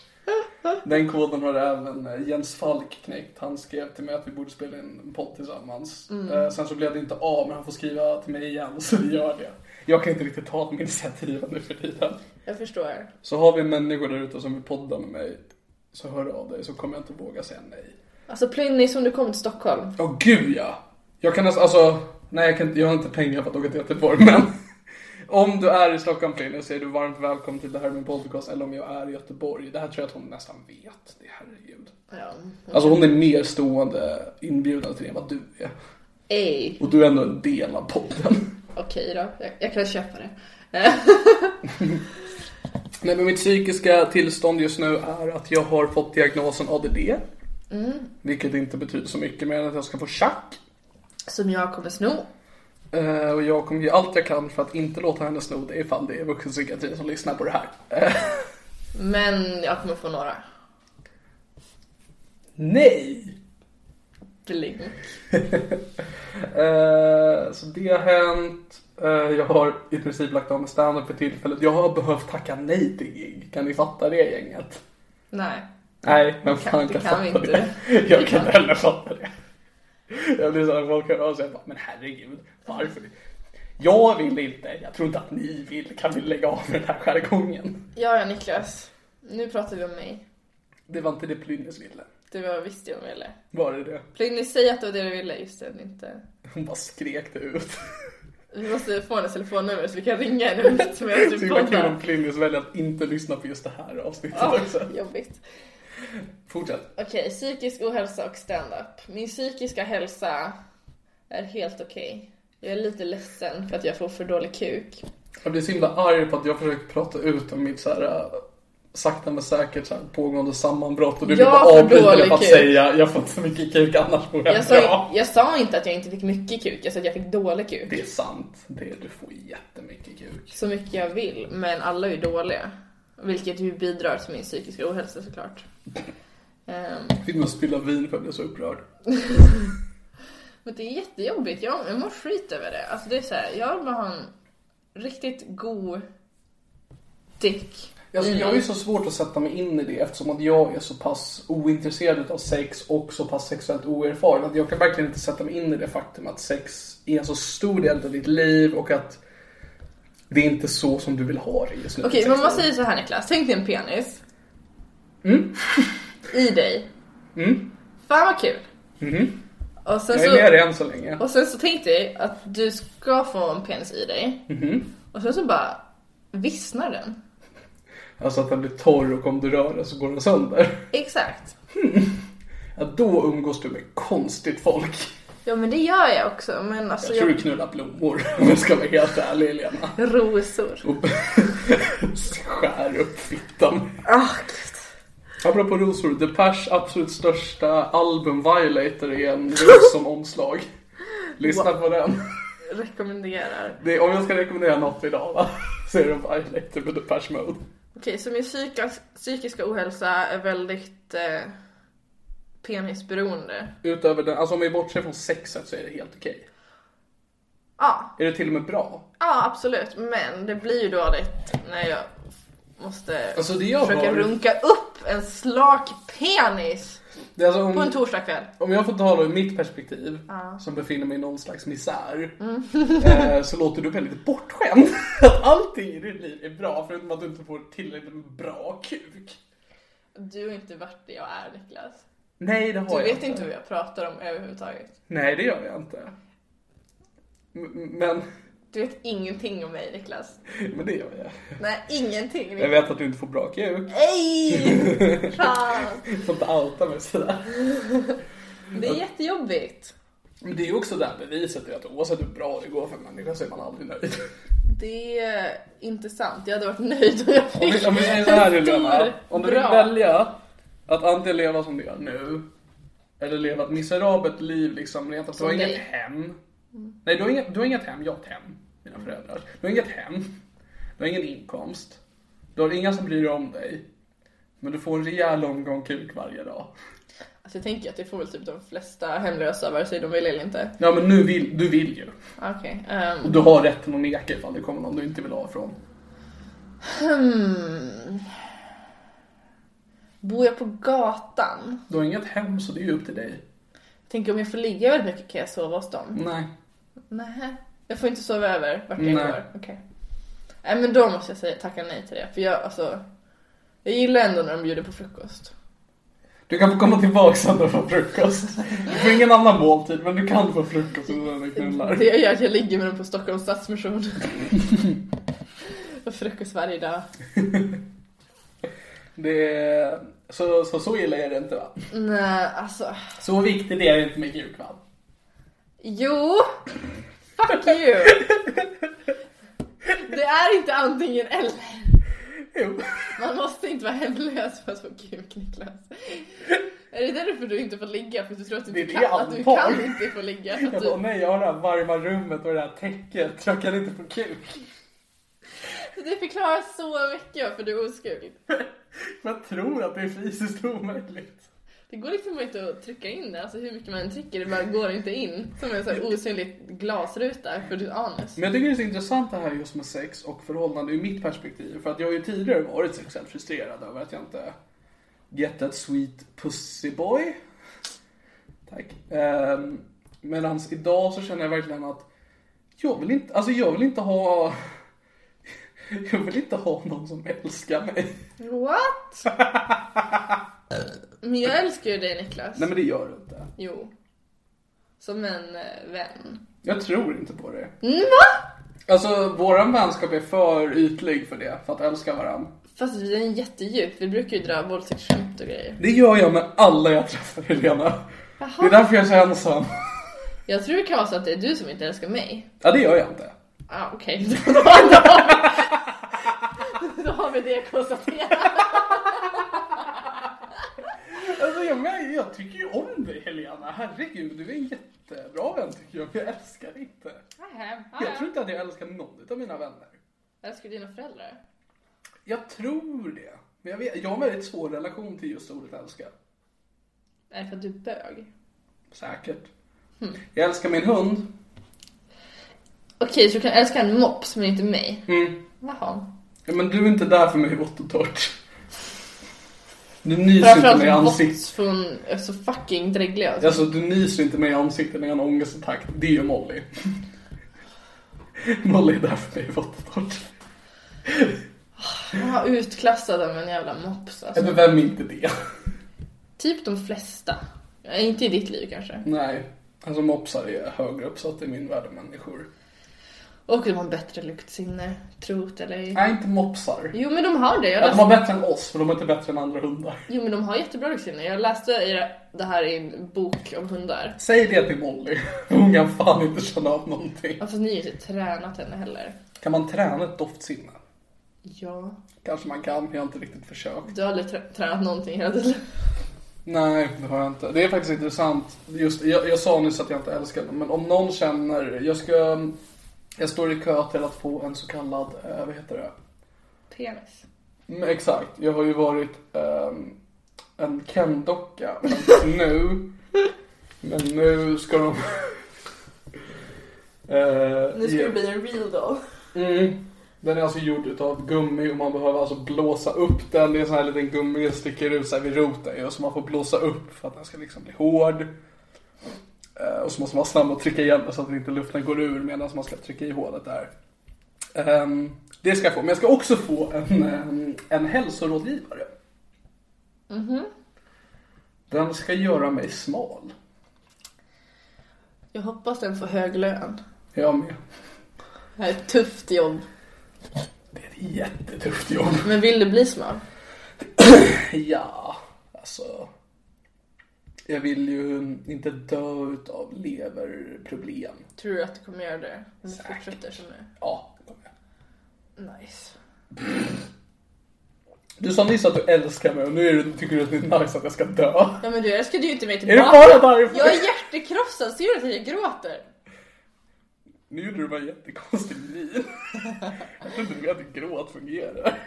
Den koden har även eh, Jens Falk knäckt. Han skrev till mig att vi borde spela in en podd tillsammans. Eh, Sen så blev det inte av, men han får skriva till mig igen, så vi gör det. Jag kan inte riktigt ta de initiativen nu för tiden. Jag förstår. Så har vi människor där ute som vill podda med mig, så hör av dig så kommer jag inte våga säga nej. Alltså Plynnis, om du kommer till Stockholm. Åh gud ja! Jag kan nästan, alltså, nej jag, kan, inte- jag har inte pengar för att åka till Göteborg men *laughs* om du är i Stockholm Pliny så är du varmt välkommen till det här är min podcast eller om jag är i Göteborg. Det här tror jag att hon nästan vet. Det herregud. Ja. Alltså hon är mer stående inbjuden till det än vad du är. Ey. Och du är ändå en del av podden. *laughs* Okej då, jag, jag kan köpa det. *laughs* Nej men mitt psykiska tillstånd just nu är att jag har fått diagnosen ADD. Vilket inte betyder så mycket mer än att jag ska få tjack. Som jag kommer sno. Eh, Och jag kommer göra allt jag kan för att inte låta henne sno det ifall det är vuxenpsykiatrin som lyssnar på det här. Eh, Men jag kommer få några. Nej! Blink. Eh, Så det har hänt. Eh, Jag har i princip lagt av med standup för tillfället. Jag har behövt tacka nej till gig. Kan ni fatta det gänget? Nej. Nej, men kan- fan det kan, kan vi fatta inte. det. Jag *laughs* kan inte heller fatta det. Jag blir så här, folk hör av sig och bara, men herregud, varför? Jag vill inte, jag tror inte att ni vill. Kan vi lägga av med den här jargongen? Ja, ja Niklas. Nu pratar vi om mig. Det var inte det Plynnis ville. Det var visst jag ville. Var det det? Plynnis, säg att det var det du ville. Just det, inte. Hon bara skrek det *laughs* ut. Vi måste få hennes telefonnummer så vi kan ringa henne mitt som helst Så vi himla Typ kul om poddar. Plynnis väljer att inte lyssna på just det här avsnittet också. Oh, jobbigt. Fortsätt. Okej, psykisk ohälsa och stand-up. Min psykiska hälsa är helt okej. Jag är lite ledsen för att jag får för dålig kuk. Jag blir så himla arg på att jag försöker prata ut om mitt så här äh, sakta men säkert så här, pågående sammanbrott och du vill Jag bara får avbryta det dålig för att kuk. säga jag får inte så mycket kuk annars vore Jag jag sa, bra. jag sa inte att jag inte fick mycket kuk, jag sa att jag fick dålig kuk. Det är sant. Det är, du får jättemycket kuk. Så mycket jag vill, men alla är ju dåliga. Vilket ju bidrar till min psykiska ohälsa såklart. Ehm, Jag fick nog spilla vin för jag blev så upprörd. men det är jättejobbigt, jag, jag mår skit över det. Alltså det är så här, jag vill bara ha en riktigt god dick. Alltså, i jag mig. är ju så svårt att sätta mig in i det eftersom att jag är så pass ointresserad av sex och så pass sexuellt oerfaren att jag kan verkligen inte sätta mig in i det faktum att sex är en så stor del av ditt liv och att det är inte så som du vill ha det just nu. Okej, men man säger så här Niklas, tänk dig en penis. Mm. I dig. Fan vad kul. Och, sen Mm-hmm. Jag är med så, dig än så länge. och sen så tänk dig att du ska få en penis i dig. Mm-hmm. Och sen så bara vissnar den. Alltså att den blir torr och om du rör den så går den sönder. Exakt. Ja, då umgås du med konstigt folk. Ja men det gör jag också, men alltså Jag tror jag... du knullar blommor om jag ska vara helt ärlig Helena. Rosor. Och skär upp fittan. Ah, gud. Apropå rosor, Depeche absolut största album Violator är en ros som omslag. Lyssna på den. rekommenderar. Det är, om jag ska rekommendera något idag va? så är det Violator med Depeche Mode. Okej, så min psykas- psykiska ohälsa är väldigt eh, penisberoende. Utöver den, alltså om vi bortser från sexet så är det helt okej. Ja, ah, Är det till och med bra? Ja, absolut. Men det blir ju dåligt när jag måste Alltså, det jag försöka har- runka upp en slak penis. Det är alltså På en om, torsdagkväll. om jag får tala ur mitt perspektiv, som befinner mig i någon slags misär, Mm. eh, så låter du väldigt bortskämd. *laughs* Att allting i ditt liv är bra, förutom att du inte får tillräckligt med bra kuk. Du har inte varit det jag är Niklas. Nej, det har Du jag vet inte vad jag pratar om överhuvudtaget. Nej, det gör jag inte. M- Men, *laughs* Du vet ingenting om mig Niklas. men det gör jag. Nej, ingenting. Niklas. Jag vet att du inte får bra kuk. *laughs* Nej! Fan! Jag får inte outa mig sådär. Det är jättejobbigt. Men det är ju också det här beviset är att oavsett hur bra det går för en människa så är man aldrig nöjd. Det är inte sant. Jag hade varit nöjd om jag Om fick vi, om vi säger så här en stor, Helena, om du vill bra- välja att antingen leva som du gör nu, eller leva ett miserabelt liv liksom, rent att du Som har inget dig. Mm. hem. Nej, du har inget, du har inget hem, jag har ett hem, mina föräldrar. Du har inget hem, du har ingen inkomst, du har inga som bryr sig om dig, men du får en rejäl omgång kuk varje dag. Alltså jag tänker att det får väl typ de flesta hemlösa vare sig de vill eller inte. Ja men nu vill, du vill ju. Okej. ehm, Du har rätten att neka ifall det kommer någon du inte vill ha ifrån. hmm. Bor jag på gatan? Du har inget hem så det är ju upp till dig. Tänker om jag får ligga väldigt mycket kan jag sova hos dem? Nej. Nej. Jag får inte sova över vart jag Nej. går? Okej. Nej men då måste jag säga, tacka nej till det. För jag alltså. Jag gillar ändå när de bjuder på frukost. Du kan få komma tillbaka sen och få frukost. Du får ingen annan måltid men du kan få frukost och sådana knullar. Det jag gör är att jag ligger med dem på Stockholms Stadsmission. och frukost varje dag. Det är... så, så, så illa är det inte va? Nej, alltså. Så viktigt är det inte med kuk va? Jo! Fuck you! Det är inte antingen eller. Jo. Man måste inte vara hemlös för att få kuk, Niklas. Är det därför du inte får ligga? För att du tror att du Det är inte det kan, jag att du antar. kan inte få ligga? Att Jag bara, du, nej jag har det här varma rummet och det här täcket. Jag kan inte få kuk. det förklarar så mycket varför du är oskuld. Men jag tror att det är fysiskt omöjligt. Det går liksom inte att trycka in det, alltså hur mycket man än trycker det bara går inte in. Som en sån här osynlig glasruta för ditt anus. Men jag tycker det är så intressant det här just med sex och förhållande ur mitt perspektiv. För att jag har ju tidigare varit sexuellt frustrerad över att jag inte get that sweet pussyboy. Tack. Um, medans idag så känner jag verkligen att jag vill inte, alltså jag vill inte ha *laughs* jag vill inte ha någon som älskar mig. What? Men jag älskar ju dig Niklas. Nej men det gör du inte. Jo. Som en eh, vän. Jag tror inte på det. Mm, va? Alltså våran vänskap är för ytlig för det, för att älska varandra. Fast vi är en jättedjup, vi brukar ju dra våldtäktsskämt och grejer. Det gör jag med alla jag träffar Helena. Det är därför jag är så ensam. Jag tror det kan vara så att det är du som inte älskar mig. Ja, det gör jag inte. Ja, ah, okej. *laughs* Då, då, då har vi det konstaterat. Alltså, jag, men, jag tycker ju om dig Helena. Herregud, du är en jättebra vän tycker jag. Jag älskar dig inte. Nähä, ah, Jag ja. tror inte att jag älskar någon av mina vänner. Älskar du dina föräldrar? Jag tror det. Men jag, vet, jag har en väldigt svår relation till just ordet älska. Nej, för att du är bög. Säkert. Hm. Jag älskar min hund. Okej, så du kan älska en mops men inte mig? Mm. Jaha. Ja, men du är inte där för mig vått och torrt. Du nyser inte mig i Framförallt ansiktet. mops för hon är så fucking dräglig alltså. Alltså du nyser inte mig i ansiktet när jag har en ångestattack. Det gör Molly. *laughs* Molly är där för mig vått och torrt. Hon var utklassad av en jävla mops alltså. Men vem är inte det? Typ de flesta. Ja, Inte i ditt liv kanske. Nej, alltså mopsar är högre uppsatta i min värld än människor. Och de har bättre luktsinne, trot eller ej. Nej, inte mopsar. Jo men de har det. Jag Ja, de var läste... bättre än oss, för de är inte bättre än andra hundar. Jo men de har jättebra luktsinne. Jag läste i det- det här i en bok om hundar. Säg det till Molly. *laughs* Hon kan fan inte känna av någonting. Ja, fast ni har ju inte tränat henne heller. Kan man träna ett doftsinne? Ja. Kanske man kan, jag har inte riktigt försökt. Du har aldrig trä- tränat någonting hela ditt liv. Nej, det har jag inte. Det är faktiskt intressant. Just, jag, jag sa nyss att jag inte älskar dem, men om någon känner... Jag ska... Jag står i kö till att få en så kallad, eh, vad heter det? Penis. Mm, exakt. Jag har ju varit ehm, en Ken-docka fram till nu. Men nu ska de... *laughs* Eh, Nu ska ge- du bli en real doll. Mm. Den är alltså gjord utav gummi och man behöver alltså blåsa upp den. Det är en sån här liten gummi som sticker ut så här vid roten ju. Så man får blåsa upp för att den ska liksom bli hård. Eh, Och så måste man vara snabb och trycka igen den så att inte luften går ur medan man ska trycka i hålet där. Ehm, Det ska jag få. Men jag ska också få en, en, en hälsorådgivare. Den ska göra mig smal. Jag hoppas den får hög lön. Jag med. Det här är ett tufft jobb. Det är ett jättetufft jobb. Men vill du bli smal? Ja, alltså. Jag vill ju inte dö utav leverproblem. Tror du att du kommer göra det? Om du Säkert. fortsätter som nu? Ja, det kommer jag. Nice. Du sa nyss att du älskar mig och nu är du, tycker du att det är nice att jag ska dö. Ja men du älskade ju inte mig Är det tillbaka. bara därför? Jag är hjärtekrossad, ser du att jag gråter? Nu gjorde du bara en jättekonstig min. Jag tror inte du vet hur gråt fungerar.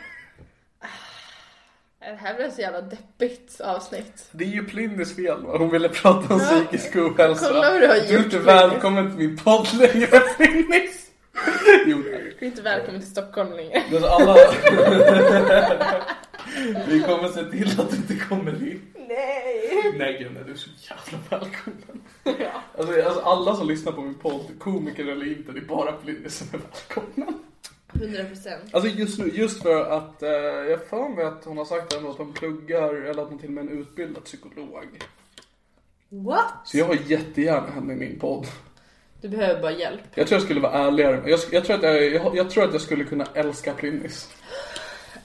Det här blir så jävla deppigt avsnitt. Det är ju Plynnis fel va? Hon ville prata om Ja. psykisk ohälsa. Kolla hur du har är gjort, inte Plynnis. välkommen till min podd längre Plynnis. Jo, nej. Du är inte välkommen till Stockholm längre. Men alla... Vi kommer se till att du inte kommer in. Nej! Nej gud, nej, du är så jävla välkommen. Alltså, alltså alla som lyssnar på min podd, komiker eller inte, det är bara Plynnis som är välkommen. 100%. Alltså just nu, just för att eh, jag har för mig att hon har sagt ändå att hon pluggar eller att hon till och med är en utbildad psykolog. What? Så jag har jättegärna henne i min podd. Du behöver bara hjälp. Jag tror jag skulle vara ärligare. med- Jag, sk- jag, tror, att jag, jag, jag tror att jag skulle kunna älska Plynnis.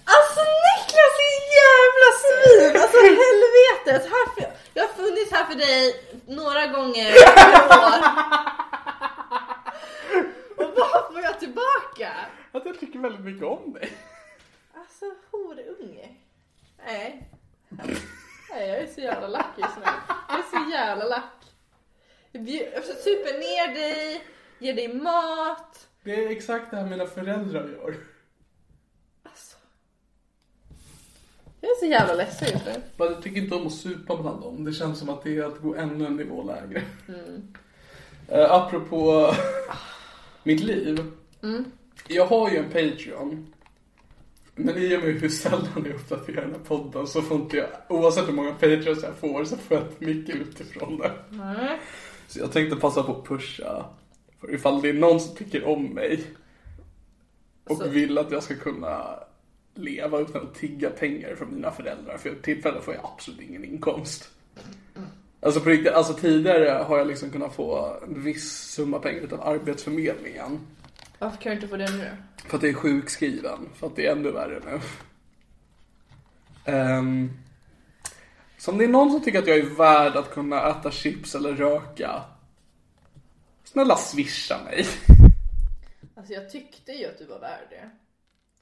Alltså Niklas är jävla svin! *laughs* Alltså helvetet! Här för... Jag har funnits här för dig några gånger per *laughs* år. Och vad får jag tillbaka? Att jag tycker väldigt mycket om dig. Alltså horunge. Nej. Nej, jag är så jävla lack just nu. Jag är så jävla lack. Jag bjud- jag super ner dig, ger dig mat. Det är exakt det här mina föräldrar gör. Alltså. Jag är så jävla ledsen just nu. Men jag tycker inte om att supa bland dem. Det känns som att det är att gå ännu en nivå lägre. Eh, apropå mitt liv. Jag har ju en Patreon. Men i och med hur sällan jag uppdaterar den här podden så får inte jag, oavsett hur många Patreons jag får, så får jag inte mycket utifrån det. Så jag tänkte passa på att pusha. För ifall det är någon som tycker om mig och Så- vill att jag ska kunna leva utan att tigga pengar från mina föräldrar. För för tillfället får jag absolut ingen inkomst. Alltså på riktigt, alltså tidigare har jag liksom kunnat få en viss summa pengar utav Arbetsförmedlingen. Varför kan jag inte få det nu För att jag är sjukskriven. För att det är ännu värre nu. Ehm, så om det är någon som tycker att jag är värd att kunna äta chips eller röka. Snälla swisha mig. Alltså jag tyckte ju att du var värd det.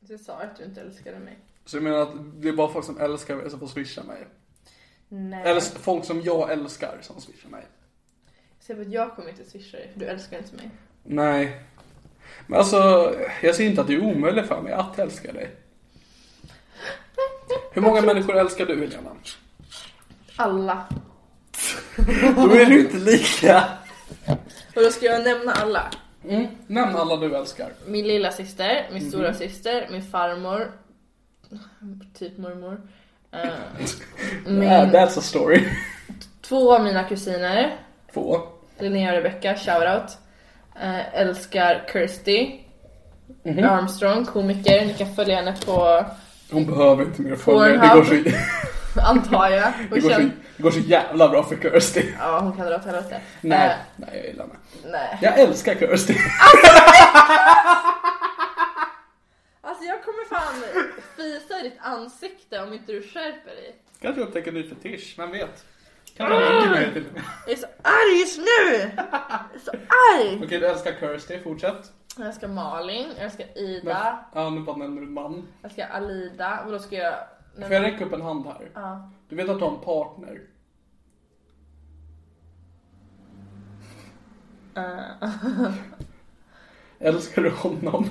Så jag sa att du inte älskade mig. Så jag menar att det är bara folk som älskar mig som får swisha mig. Nej. Eller s- folk som jag älskar som swishar mig. Säg bara att jag kommer inte swisha dig, för du älskar inte mig. Nej. Men alltså, jag ser inte att det är omöjligt för mig att älska dig. Hur många människor älskar du, Helena? Alla. Då är du inte lika. Och då ska jag nämna alla. Mm. Nämn alla du älskar. Min lilla syster, Mhm. min stora syster, min farmor, typ mormor. Eh, Ah, min, that's a story. *laughs* två av mina kusiner, Två. Linnea och Rebecca, shoutout. Eh, älskar Kirsty Mhm. Armstrong, komiker. Ni kan följa henne på, Hon behöver inte mer följare. Det går så, Pornhub. antar jag. det Hon, går så, känner, det går så jävla bra för *laughs* Kirsty. ja, hon kan dra åt helvete. Nej, Eh, nej jag gillar henne. nej. Jag älskar Kirsty. Alltså jag kommer fan fisa i ditt ansikte om inte du skärper dig. *laughs* Kanske upptäcker en ny fetisch, vem vet? Kanske hon ligger med Ah! dig till och med. Jag är så arg just nu! Jag är så arg! Okej, du älskar Kirsty, fortsätt. Jag älskar Malin, jag älskar Men- Ida, Ja, nu bara nämner du man. jag älskar Alida. Och då ska jag... Får jag räcka upp en hand här? Ja. Du vet att du har en partner? Eh, Älskar du honom?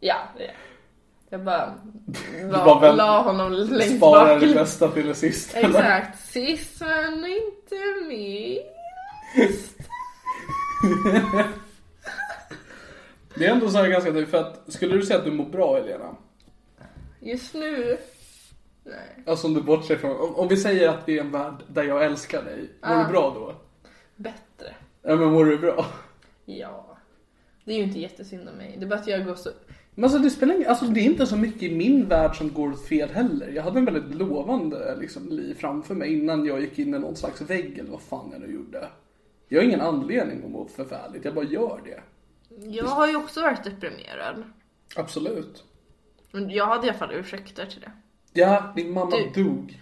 ja, det är jag. Jag bara, la, bara vänt- la honom *laughs* längst Sparar bak. det bästa till det sista. eller? Exakt. Sist men inte minst. Det är ändå så här ganska dyrt, för att skulle du säga att du mår bra Helena? Just nu? Nej. Alltså om du bortser från, om, om vi säger att vi är en värld där jag älskar dig, mår du bra då? Bättre. Ja men mår du bra? Ja. Det är ju inte jättesynd om mig. Det är bara att jag går så... Men alltså det spelar ingen, alltså det är inte så mycket i min värld som går åt fel heller. Jag hade en väldigt lovande liksom, liv framför mig innan jag gick in i någon slags vägg eller vad fan jag nu gjorde. Jag har ingen anledning att må förfärligt, jag bara gör det. Jag har ju också varit deprimerad. Absolut. Men jag hade i alla fall ursäkter till det. Ja, din mamma Du- dog.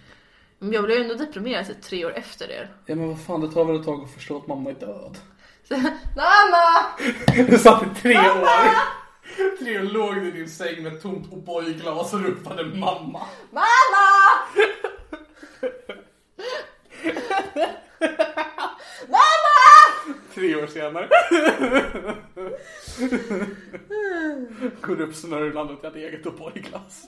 Men jag blev ändå deprimerad typ tre år efter det. Ja men vad fan, det tar väl ett tag att förstå att mamma är död. *laughs* Så, Mamma! Du satt i tre år. Tre år låg du i din säng med ett tomt O'boy-glas och ropade mamma. Mamma! Tre år senare. Går upp snörvlande till ett eget O'boy-glas.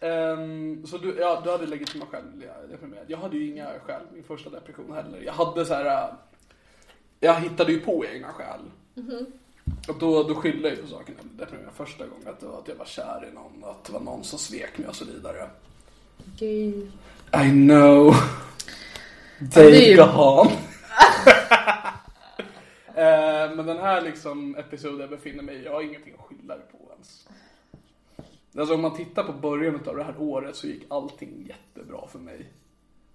Ehm, så du, ja, du hade legitima skäl att bli deprimerad. Jag hade ju inga skäl min första depression heller. Jag hade så här. äh, Jag hittade ju på egna skäl. Och då, då skyllde jag ju på saken jag blev deprimerad första gången. Att det var att jag var kär i någon, att det var någon som svek mig och så vidare. Gay. I know. det är Dave *laughs* ju- Gahan. Eh, Men den här liksom episoden jag befinner mig i, jag har ingenting att skylla det på ens. Alltså om man tittar på början av det här året så gick allting jättebra för mig.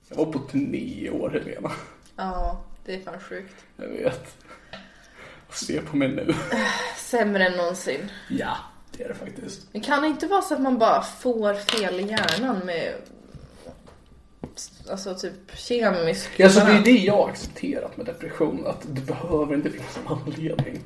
Jag var på turné i år Helena. Ja, det är fan sjukt. Jag vet. Och se på mig nu. Sämre än någonsin. Ja, det är det faktiskt. Det kan inte vara så att man bara får fel i hjärnan med alltså typ kemisk... Alltså det är det jag har accepterat med depression, att du behöver inte finnas en anledning.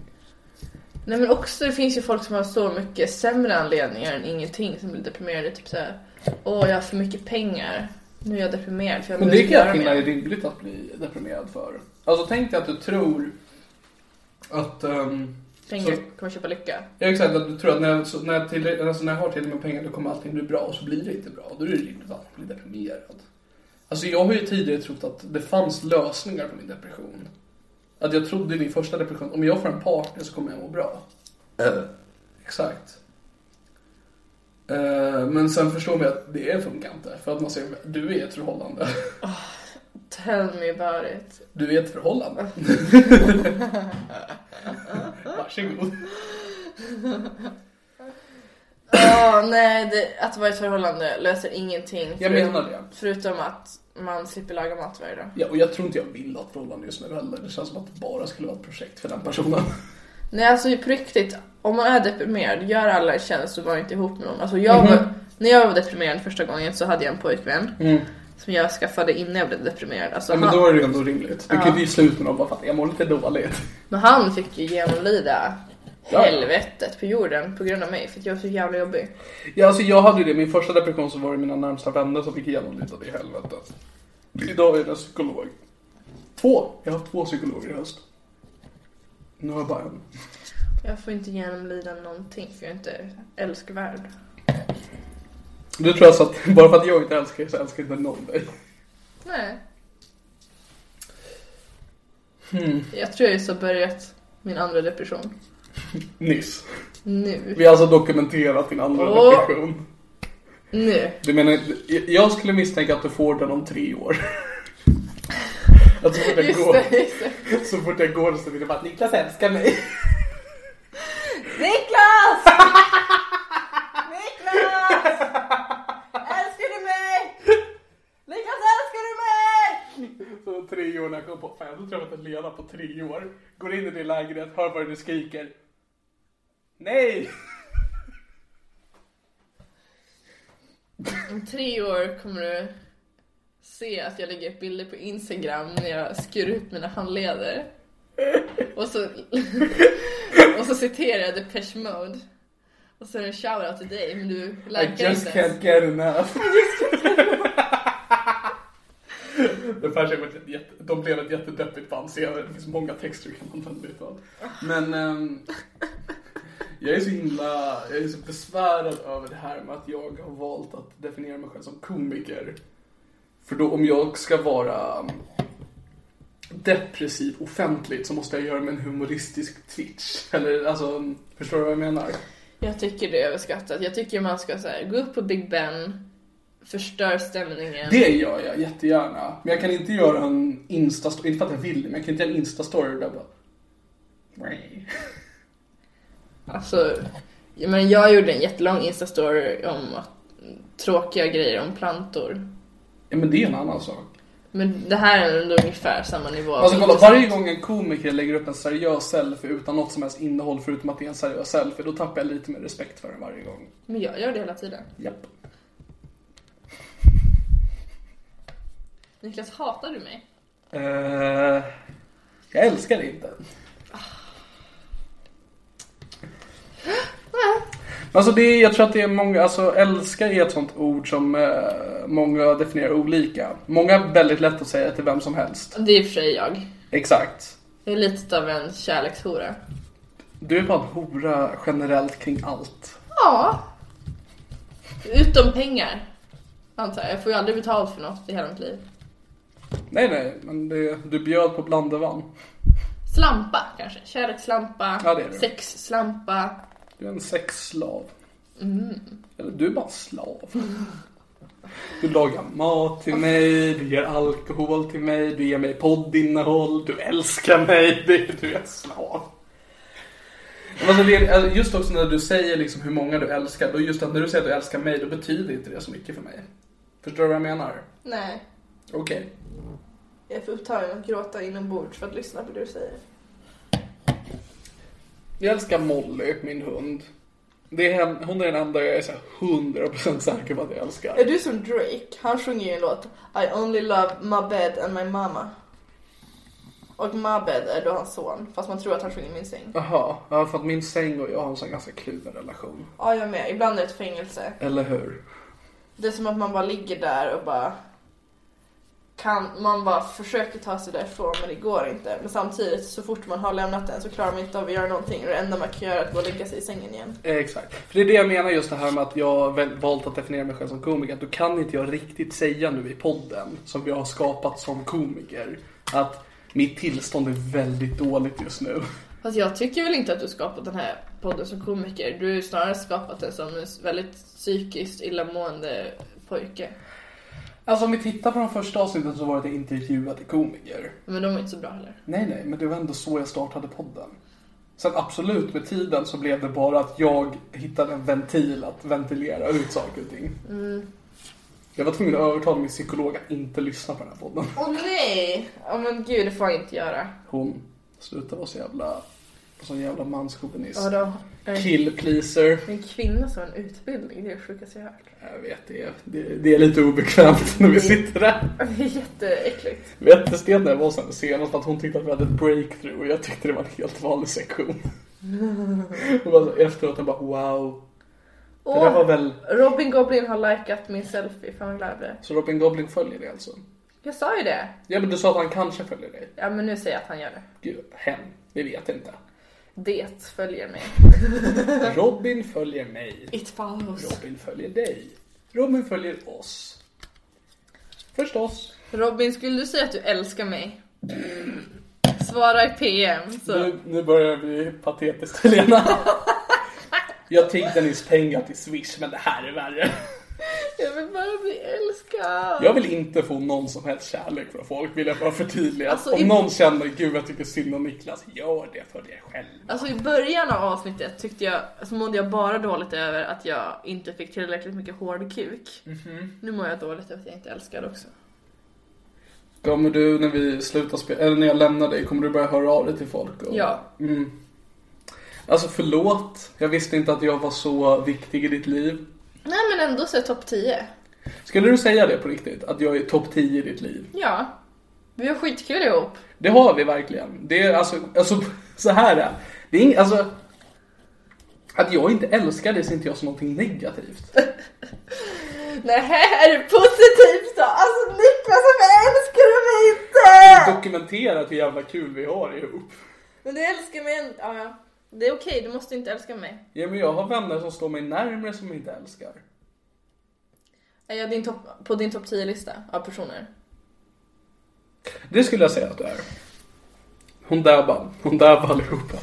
Nej men också det finns ju folk som har så mycket sämre anledningar än ingenting som blir deprimerade. Typ såhär, åh jag har för mycket pengar. Nu är jag deprimerad för jag Men behöver det kan jag spara finna är mer." rimligt att bli deprimerad för. Alltså tänk dig att du tror att... ehm, Pengar så- kommer köpa lycka. ja, exakt, att du tror att när jag, så, när, jag till, alltså, när jag har tillräckligt med pengar då kommer allting bli bra och så blir det inte bra. Då är det rimligt att bli deprimerad. Alltså jag har ju tidigare trott att det fanns lösningar på min depression. Att jag trodde i min första depression, om jag får en partner så kommer jag må bra. Exakt. Eh, men sen förstår man att det funkar inte. För att man ser, du är ett förhållande. *laughs* Tell me about it. Du är ett *laughs* förhållande. Varsågod. Ja, nej, det, att vara i ett förhållande löser ingenting. Jag förutom- menar det. Förutom att man slipper laga mat varje dag. Ja, och jag tror inte jag vill ha ett förhållande just nu heller. Det känns som att det bara skulle vara ett projekt för den personen. Nej, alltså på riktigt. Om man är deprimerad, gör alla en tjänst och var inte ihop med någon. Alltså jag Mhm. var, när jag var deprimerad första gången så hade jag en pojkvän. Som jag skaffade innan jag blev deprimerad. Alltså, Mm. Ja, men han, då är det ju ändå rimligt. Du kan ju sluta med dem bara för att jag mår lite dåligt. men han fick ju genomlida Ja. helvetet på jorden på grund av mig. För att jag var så jävla jobbig. Ja, alltså jag hade ju det. Min första depression så var det mina närmsta vänner som fick igenom lite av det helvetet. Idag är jag psykolog. Två! Jag har haft två psykologer i höst. Nu har jag bara en. Jag får inte genomlida någonting för jag är inte älskvärd. Du tror alltså att *laughs* bara för att jag inte älskar dig så älskar inte någon dig? Nej. Hmm. Jag tror jag just har börjat min andra depression. Nyss. Nu. Vi har alltså dokumenterat din andra Åh. depression. Nu. Du menar, jag skulle misstänka att du får den om tre *laughs* år. Att så fort jag Just går, det, just det. så fort jag går så vill jag bara att Niklas älskar mig. *laughs* *laughs* Niklas! Niklas! Älskar du mig? Niklas älskar du mig? Så om tre år när jag kommer på, fan jag har träffat en Lena på tre år. Går in i det lägret, hör vad du skriker. Nej! Om tre år kommer du se att jag lägger upp bilder på Instagram när jag skur ut mina handleder. Och så, *laughs* och så citerar jag Depeche Mode. Och så är det en shoutout till dig, men du I likar just inte ens. can't get enough. Det Percy var ett jätte, de blev ett jättedeppigt band senare. Det finns många texter du kan använda utav. Men ehm, jag är så himla, jag är så besvärad över det här med att jag har valt att definiera mig själv som komiker. För då om jag ska vara ehm, depressiv offentligt så måste jag göra med en humoristisk twitch. Eller alltså, förstår du vad jag menar? Jag tycker det är överskattat. Jag tycker man ska så här, gå upp på Big Ben, förstör stämningen. Det gör jag jättegärna. Men jag kan inte göra en instastory, inte för att jag vill men jag kan inte göra en instastory där bara... Nej. Alltså, jag, men jag gjorde en jättelång instastory om att, tråkiga grejer om plantor. Ja men det är en annan sak. Men det här är ändå ungefär samma nivå. Liksom. av Alltså kolla, intressant. varje gång en komiker lägger upp en seriös selfie utan något som helst innehåll förutom att det är en seriös selfie, då tappar jag lite mer respekt för den varje gång. Men jag gör det hela tiden. Japp. Niklas, hatar du mig? Eh, jag älskar det inte. Alltså det, är- jag tror att det är många, alltså älskar är ett sånt ord som eh, många definierar olika. Många är väldigt lätt att säga till vem som helst. Det är i och för sig jag. Exakt. Jag är lite av en kärlekshora. Du är bara en hora generellt kring allt. Ja. Utom pengar. Antar jag. Jag får ju aldrig betalt för något i hela mitt liv. Nej nej, men det, du bjöd på blandevann. Slampa kanske. Kärleksslampa. Ja, det är det. Sexslampa. Du är en sexslav. Eller du är bara en slav. Du lagar mat till mig, du ger alkohol till mig, du ger mig poddinnehåll, du älskar mig, *laughs* du, du är en slav. Men Alltså det, är- alltså just också när du säger liksom hur många du älskar, då just att när du säger att du älskar mig, då betyder inte det så mycket för mig. Förstår du vad jag menar? Nej. Okej. Jag är för upptagen att gråta inombords för att lyssna på det du säger. Jag älskar Molly, min hund. Det är, hen- hon är den enda jag är så här 100% säker på att jag älskar. Är du som Drake? Han sjunger ju en låt I only love my bed and my mama. Och my bed är då hans son. Fast man tror att han sjunger min säng. Jaha, ja, för att min säng och jag har en sån ganska kluven relation. Ja, jag med. Ibland är det ett fängelse. Eller hur? Det är som att man bara ligger där och bara kan, man bara försöker ta sig därifrån men det går inte. Men samtidigt så fort man har lämnat den så klarar man inte av att göra någonting och det enda man kan göra är att gå och lägga sig i sängen igen. Eh, Exakt. För det är det jag menar just det här med att jag har väl- valt att definiera mig själv som komiker. Att då kan inte jag riktigt säga nu i podden, som jag har skapat som komiker, att mitt tillstånd är väldigt dåligt just nu. Fast jag tycker väl inte att du skapat den här podden som komiker. Du har ju snarare skapat den som en väldigt psykiskt illamående pojke. Alltså om vi tittar på de första avsnitten så var det att jag intervjuade komiker. Men de är inte så bra heller. Nej, nej, men det var ändå så jag startade podden. Sen absolut, med tiden så blev det bara att jag hittade en ventil att ventilera ut saker och ting. Mm. Jag var tvungen att övertala min psykolog att inte lyssna på den här podden. Åh nej! Ja men gud, det får jag inte göra. Hon slutade vara så jävla, sån jävla manschauvinist. Ja, då, en, Kill pleaser. en kvinna som har en utbildning, det är det sjukaste jag har hört. *laughs* Jag vet, det är, det, det är lite obekvämt när vi Mm. sitter där. Det är jätteäckligt. Vet du, Sten, när jag var sen senast att hon tyckte att vi hade ett breakthrough och jag tyckte det var en helt vanlig *laughs* sektion. Och bara, så efteråt jag bara wow, det där Åh. var väl Robin Goblin har likat min selfie, fan vad glad jag blev. Så Robin Goblin följer dig alltså? Jag sa ju det. Ja men du sa att han kanske följer dig. Ja men nu säger jag att han gör det. Gud, hen. Vi vet *laughs* inte. Det följer mig. Robin följer mig. It follows. Robin följer dig. Robin följer oss. Förstås. Robin, skulle du säga att du älskar mig? Svara i PM. Så. Nu, nu börjar vi patetiskt *laughs* Helena. Jag tiggde nyss pengar till Swish men det här är värre. Jag vill bara bli älskad. Jag vill inte få någon som helst kärlek från folk vill jag bara förtydliga. Alltså, Om i- någon känner gud jag tycker synd om Niklas, gör det för dig själv. Alltså i början av avsnittet tyckte jag, så mådde jag bara dåligt över att jag inte fick tillräckligt mycket hård kuk. Nu mår jag dåligt över att jag inte är älskad också. Kommer du när vi slutar spela, eller när jag lämnar dig, kommer du börja höra av dig till folk? Och... Ja. Mm. Alltså förlåt, jag visste inte att jag var så viktig i ditt liv. Nej men ändå så är jag topp 10. Skulle du säga det på riktigt? Att jag är topp 10 i ditt liv? Ja. Vi har skitkul ihop. Det har vi verkligen. Det är alltså, alltså *laughs* så här är det. Är ing, alltså, att jag inte älskar dig ser inte jag som någonting negativt. Nej, här är det positivt då? Alltså Niklas, varför älskar du mig inte? Dokumenterat hur jävla kul vi har ihop. Men du älskar mig inte. Ja, ja. Det är okej, du måste inte älska mig. Ja, men jag har vänner som står mig närmare som jag inte älskar. Är jag din topp- på din topp 10-lista av personer? Det skulle jag säga att du är. Hon dabbar. Hon dabbar allihopa.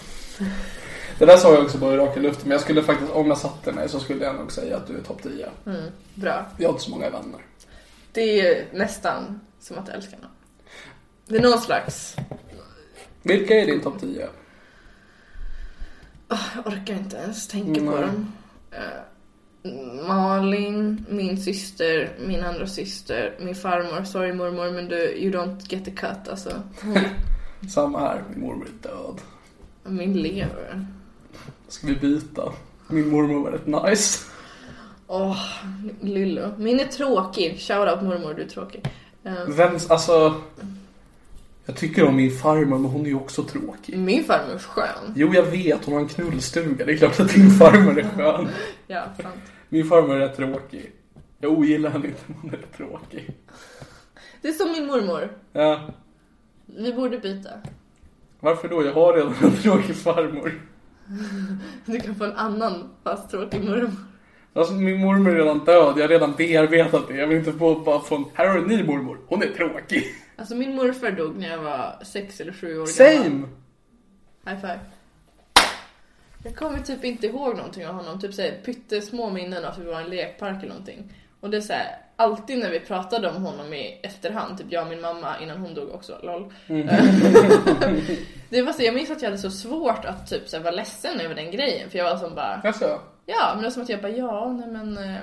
Det där sa jag också bara i raka luften. Men jag skulle faktiskt, om jag satte mig så skulle jag nog säga att du är topp 10. Bra. Jag har inte så många vänner. Det är nästan som att älska någon. Det är någon slags... Vilka är din topp 10? Jag orkar inte ens tänka på Nej. dem. Eh, Malin, min syster, min andra syster, min farmor. Sorry mormor men du, you don't get the cut alltså. Samma här, min mormor är död. Min lever. Ska vi byta? Min mormor var rätt nice. Åh, Lillo. Min är tråkig. Shoutout mormor, du är tråkig. Eh, Vem, alltså... Jag tycker om min farmor, men hon är ju också tråkig. Min farmor är skön. Jo, jag vet, hon har en knullstuga. Det är klart att din farmor är skön. Ja, sant. Min farmor är rätt tråkig. Jag ogillar henne inte, men hon är rätt tråkig. Det är som min mormor. Ja, Vi borde byta. varför då? Jag har redan *laughs* en tråkig farmor. Du kan få en annan fast tråkig mormor. Alltså, min mormor är redan död. Jag har redan bearbetat det. Jag vill inte få bara från, här har du en ny mormor. Hon är tråkig. Alltså min morfar dog när jag var sex eller sju år gammal. Same! High five. Jag kommer typ inte ihåg någonting av honom. Typ såhär pyttesmå minnen av att vi var i en lekpark eller någonting. Och det är såhär, alltid när vi pratade om honom i efterhand, typ jag och min mamma innan hon dog också, lol. *laughs* det var så, jag minns att jag hade så svårt att typ så här, vara ledsen över den grejen. För jag var som bara, Alltså, Ja, men det var som att jag bara, ja, nej men... eh,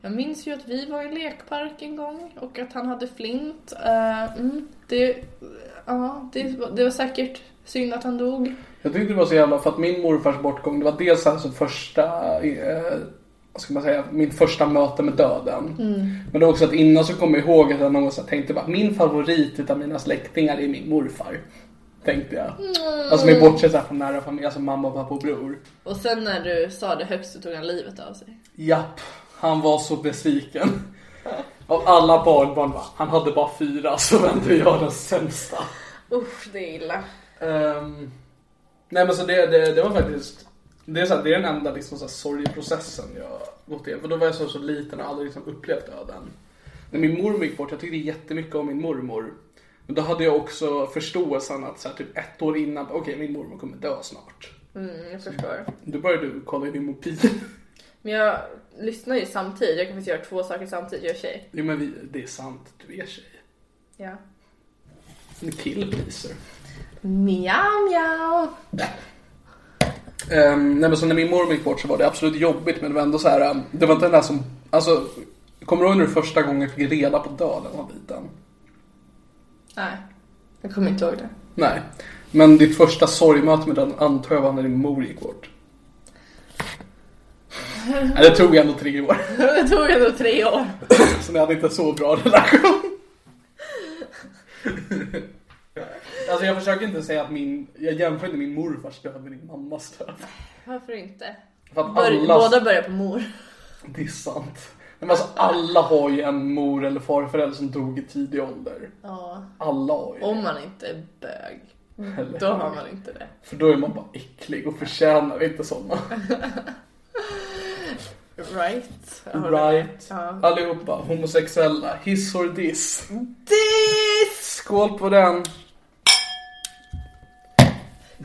Jag minns ju att vi var i lekpark en gång och att han hade flint. Eh, mm, det, ja, det, det var säkert synd att han dog. Jag tyckte det var så jävla, för att min morfars bortgång, det var dels alltså första, eh, vad ska man säga, mitt första möte med döden. Men det var också att innan så kom jag ihåg att jag någon gång så här tänkte bara, min favorit utav mina släktingar är min morfar. Tänkte jag. Alltså med bortsett så här från nära familj, alltså mamma, pappa och bror. Och sen när du sa det högst så tog han livet av sig. Japp, han var så besviken. Av alla barnbarn, va? han hade bara fyra, så vände jag den sämsta. Usch, det är illa. Ehm, nej men så det, det, det var faktiskt det är, så här, det är den enda liksom, så här, sorgeprocessen jag gått igenom. För då var jag så, så liten och aldrig liksom, upplevt döden. När min mormor gick bort, jag tyckte jättemycket om min mormor. Men då hade jag också förståelsen att så här, typ ett år innan, okej min mormor kommer dö snart. Mm, jag förstår. Då började du kolla i din mobil. *laughs* Men jag lyssnar ju samtidigt. Jag kan faktiskt göra två saker samtidigt. Jag är tjej. jo men vi, det är sant, du är tjej. Ja. En kill pleaser. Miau, miau. Um, nej men så när min mormor gick bort så var det absolut jobbigt men det var ändå så här. ehm, det var inte den där som, alltså, kommer du ihåg när du första gången fick reda på döden var liten? Nej, jag kommer inte ihåg det. *laughs* Nej. Men ditt första sorgmöte med den antar jag var när din mor gick bort. Nej, det tog ändå tre år. *laughs* Det tog ändå tre år. Så ni hade inte så bra relation. alltså jag försöker inte säga att min, jag jämför inte min morfars död med din mammas död. Varför inte? För att Bör, alla- Båda börjar på mor. Det är sant. Men alltså alla har ju en mor eller farförälder som dog i tidig ålder. Ja. Alla har ju det. Om man inte är bög, Eller då hur? har man inte det. För då är man bara äcklig och förtjänar inte sådana. Right? Jag håller med. Right? Ja. Allihopa, homosexuella, hiss or diss. This Skål på den!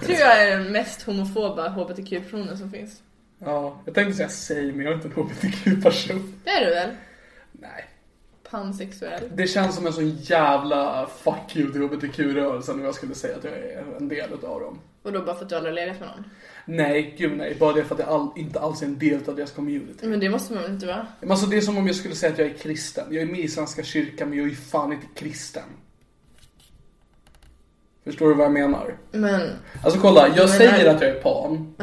tror jag är den mest homofoba hbtq-personen som finns. Ja, jag tänkte säga säg men jag är inte en hbtq-person. Det är du väl? Nej. Pansexuell. Det känns som en sån jävla fuck you till hbtq-rörelsen om jag skulle säga att jag är en del utav dem. Och då bara för att du aldrig har legat med någon. Nej, gud nej. Bara det för att jag all, inte alls är en del av deras community. Men det måste man väl inte vara? Men Alltså det är som om jag skulle säga att jag är kristen. Jag är med i Svenska kyrkan men jag är ju fan inte kristen. Förstår du vad jag menar? Men Alltså kolla, jag säger nej. att jag är pan.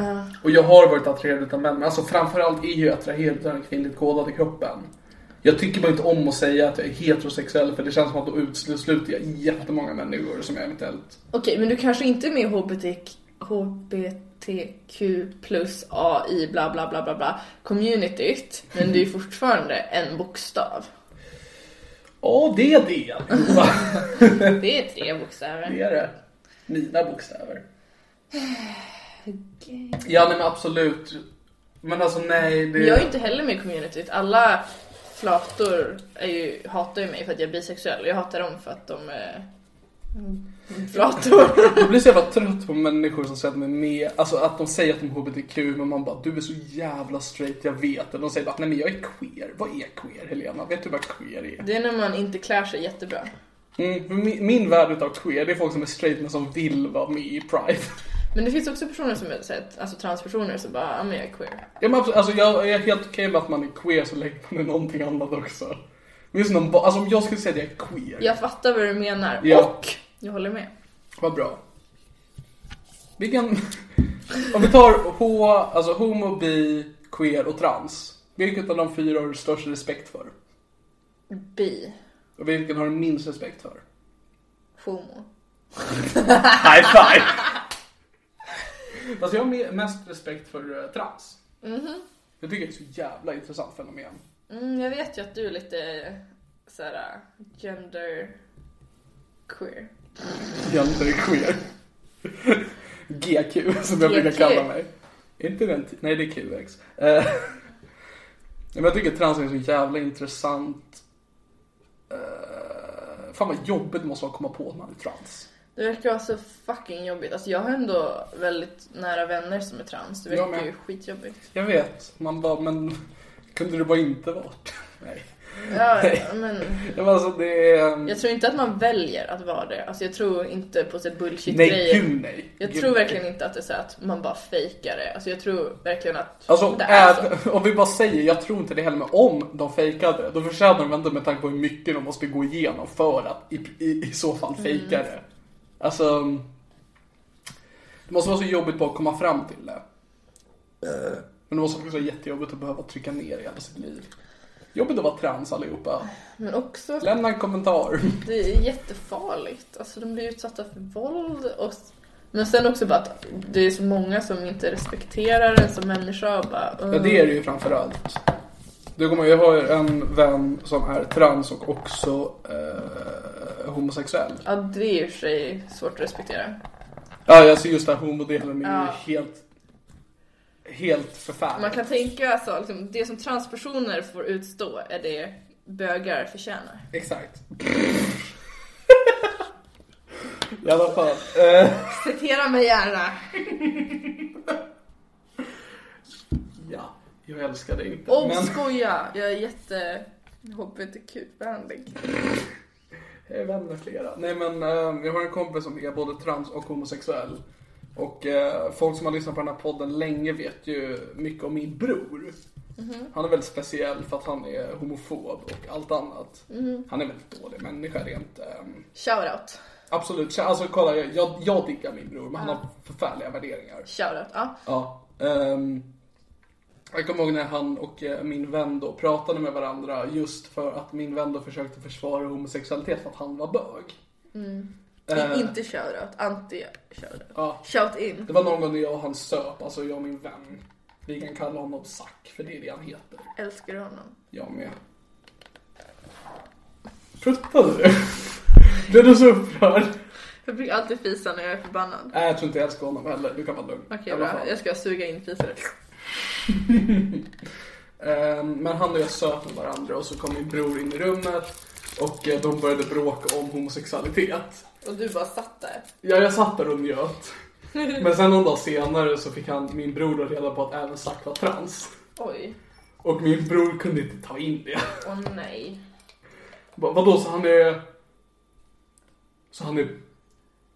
Och jag har varit attraherad av män. Men alltså framförallt är jag attraherad av den kvinnligt kodade kroppen. Jag tycker bara inte om att säga att jag är heterosexuell för det känns som att då utesluter jag jättemånga människor som jag eventuellt... okej, men du kanske inte är med i HBTQ, HBTQ plus AI bla bla bla bla bla communityt. Men det är ju fortfarande en bokstav. Ja, det är det allihopa. Det är tre bokstäver. Det är det. Mina bokstäver. Ja, nej men absolut. Men alltså nej, det... Men jag är inte heller med i communityt. Alla flator är ju, hatar ju mig för att jag är bisexuell. Jag hatar dem för att de är Flator. *laughs* Jag blir så jävla trött på människor som säger att de är med, alltså att de säger att de är HBTQ men man bara du är så jävla straight, jag vet. Och de säger bara nej men jag är queer. Vad är queer Helena? Vet du vad queer är? Det är när man inte klär sig jättebra. Mm, för min, min värld utav queer det är folk som är straight men som vill vara med i Pride. *laughs* Men det finns också personer som är såhär, alltså transpersoner som bara, ja men jag är queer. Ja, men absolut, alltså, jag är helt okej med att man är queer så länge man är någonting annat också. Men just någon, ba- alltså om jag skulle säga att jag är queer. Jag fattar vad du menar Ja. och jag håller med. Vad bra. Vilken... Om vi tar H, alltså homo, bi, queer och trans. Vilket av de fyra har du störst respekt för? Bi, Och vilken har du minst respekt för? homo. High five! alltså jag har me- mest respekt för eh, trans. Jag tycker det är ett så jävla intressant fenomen. Mm, jag vet ju att du är lite såhär gender queer. Jante queer. GQ som jag brukar GQ. kalla mig. Är inte den t- Nej, det är QX. Eh, Men jag tycker trans är så jävla intressant. Eh, Fan vad jobbigt det måste vara att komma på att man är trans. Det verkar vara så fucking jobbigt. Alltså jag har ändå väldigt nära vänner som är trans. Det Jag med. verkar ju *laughs* skitjobbigt. Jag vet, man bara, men kunde det bara inte varit? *laughs* Nej. Ja, men Men alltså det är... ehm, jag tror inte att man väljer att vara det. Alltså jag tror inte på så här Nej, bullshit-grejer. gud nej. Jag Gud, tror nej. verkligen inte att det är så att man bara fejkar det. Alltså jag tror verkligen att Alltså, det är så. även- *laughs* om vi bara säger, jag tror inte det heller, men om de fejkade, då förtjänar de ändå med tanke på hur mycket de måste gå igenom för att i, i, i så Mm. fall fejka det. Alltså, det måste vara så jobbigt bara att komma fram till det. Men det måste också vara jättejobbigt att behöva trycka ner i hela sitt liv. Jobbigt att vara trans allihopa. *laughs* Men också att Lämna en kommentar. det är jättefarligt. Alltså de blir utsatta för våld och... Men sen också bara att det är så många som inte respekterar en som människa och bara... Ja, det är det ju framförallt. Det kommer, jag har ju en vän som är trans och också eh, homosexuell. Ja, det är i och för sig svårt att respektera. Ja, alltså just den här homodelen är Ja. ju helt, helt förfärlig. Man kan tänka alltså, liksom, det som transpersoner får utstå är det bögar förtjänar. Exakt. I alla fall. Eh, Citera mig gärna. ja, jag älskar det inte. Och Men skoja! Jag är jätte... HBTQ-behandling. jag är vän med flera. Nej men eh, jag har en kompis som är både trans och homosexuell. Och eh, folk som har lyssnat på den här podden länge vet ju mycket om min bror. Mhm. Han är väldigt speciell för att han är homofob och allt annat. Mhm. Han är en väldigt dålig människa rent ehm, Shoutout. Absolut, Så, alltså kolla jag, jag, jag diggar min bror men han har förfärliga värderingar. Shoutout, ja. Ja. ehm, jag kommer ihåg när han och eh, min vän då pratade med varandra just för att min vän då försökte försvara homosexualitet för att han var bög. Eh, Inte shoutout, anti-shoutout. Ja, Shout in. det var någon gång när jag och han söp, alltså jag och min vän. Vi kan kalla honom Zack för det är det han heter. Älskar du honom? Jag med. Pruttade du? *laughs* Blev du så upprörd? Jag brukar alltid fisa när jag är förbannad. Nej, jag tror inte jag älskar honom heller. Du kan vara lugn. I Okej, alla bra. fall. Jag ska suga in fisar. Eh, Men han och jag söp med varandra och så kom min bror in i rummet och eh, de började bråka om homosexualitet. Och du bara satt där. Ja, jag satt där och njöt. Men sen någon dag senare så fick han, min bror då reda på att även Zack var trans. Oj. Och min bror kunde inte ta in det. Åh nej. Bara, Vadå, så han är... Så han är...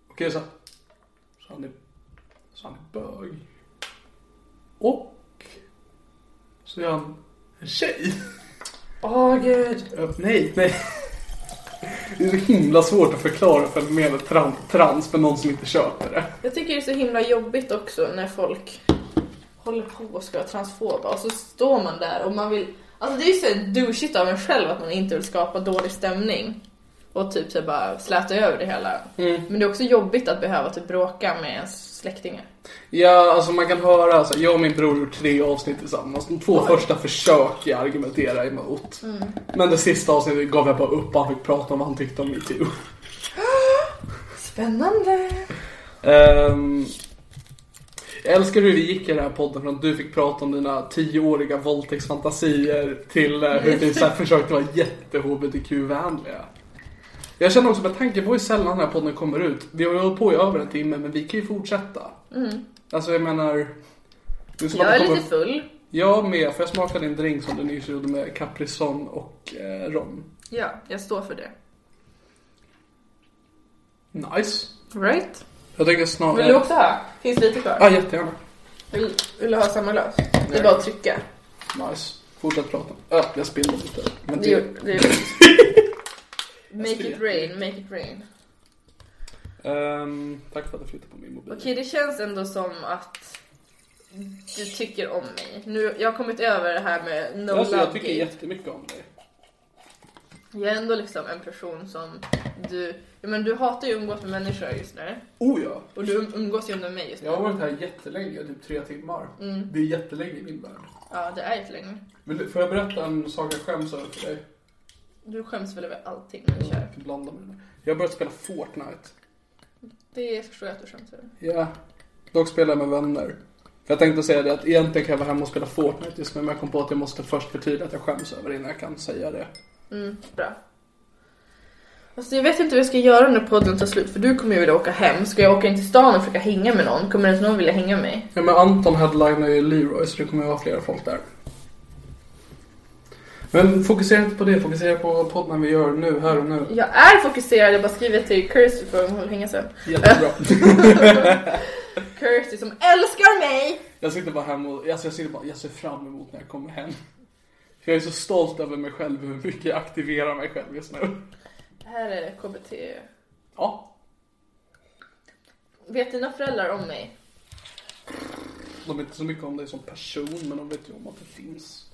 Okej, så... Så han är... Så han är bög. Och... Så är han en tjej. Åh gud. Ja, Nej, nej. Det är så himla svårt att förklara fenomenet tran- trans för någon som inte köper det. Jag tycker det är så himla jobbigt också när folk håller på och ska vara transfoba och så står man där och man vill... Alltså det är ju så här douchigt av en själv att man inte vill skapa dålig stämning och typ så här bara släta över det hela. Men det är också jobbigt att behöva typ bråka med ens släktingar. Ja, alltså man kan höra, alltså, jag och min bror gjorde tre avsnitt tillsammans. De två första försöker jag argumentera emot. Mm. Men det sista avsnittet gav jag bara upp och han fick prata om vad han tyckte om metoo. Spännande! Um, jag älskar hur vi gick i den här podden från att du fick prata om dina tioåriga våldtäktsfantasier till eh, hur vi så här försökte vara jätte-HBTQ-vänliga. Jag känner också med tanke på hur sällan den här podden kommer ut. Vi har ju hållit på i över en timme men vi kan ju fortsätta. Alltså jag menar... det som att Mm. Jag det är kommer- lite full. Jag med, för jag smakade en drink som du nyss gjorde med Caprison och eh, rom. Ja, jag står för det. Nice. Right? Jag tänker snarare... Vill du också ha? Finns lite kvar? Ja, jättegärna. Vill, vill du ha samma glas? Det är bara att trycka. Nice. Fortsätt prata. Öh, jag spillde lite. Men Det, det... gör- det, gör- make it rain, make it rain. Ehm, tack för att du flyttade på min mobil. Okej, det känns ändå som att du tycker om mig. Nu, jag har kommit över det här med no alltså, love jag tycker gate. jättemycket om dig. Jag är ändå liksom en person som du... Ja, men du hatar ju att umgås med människor just nu. Oh ja. Och du um-, umgås ju med mig just nu. Jag har varit här jättelänge, typ tre timmar. Mm. Det är jättelänge i min värld. Ja, det är ju länge. Vill du, får jag berätta en sak jag skäms över för dig? Du skäms väl över allting när du kör? Jag blanda med det. Jag har börjat spela Fortnite. Det förstår jag att du skäms över. Ja. Dock spelar jag med vänner. Jag tänkte säga det att egentligen kan jag vara hemma och spela Fortnite just nu, men jag kom på att jag måste först förtydliga att jag skäms över det innan jag kan säga det. Mm, bra. Alltså jag vet inte vad jag ska göra när podden tar slut för du kommer ju vilja åka hem. Ska jag åka in till stan och försöka hänga med någon? Kommer ens någon vilja hänga med mig? Ja, men Anton headlinar ju Leroy så det kommer ju vara flera folk där. Men fokusera inte på det, fokusera på podden vi gör nu, här och nu. Jag är fokuserad, jag bara skriver till Kirsty för hon vill hänga sen. Jättebra. Kirsty som älskar mig! Jag sitter bara hemma och alltså jag, sitter bara, jag ser fram emot när jag kommer hem. För jag är så stolt över mig själv, hur mycket jag aktiverar mig själv just nu. Det här är KBT. Ja, Vet dina föräldrar om mig? de vet inte så mycket om dig som person, men de vet ju om att det finns.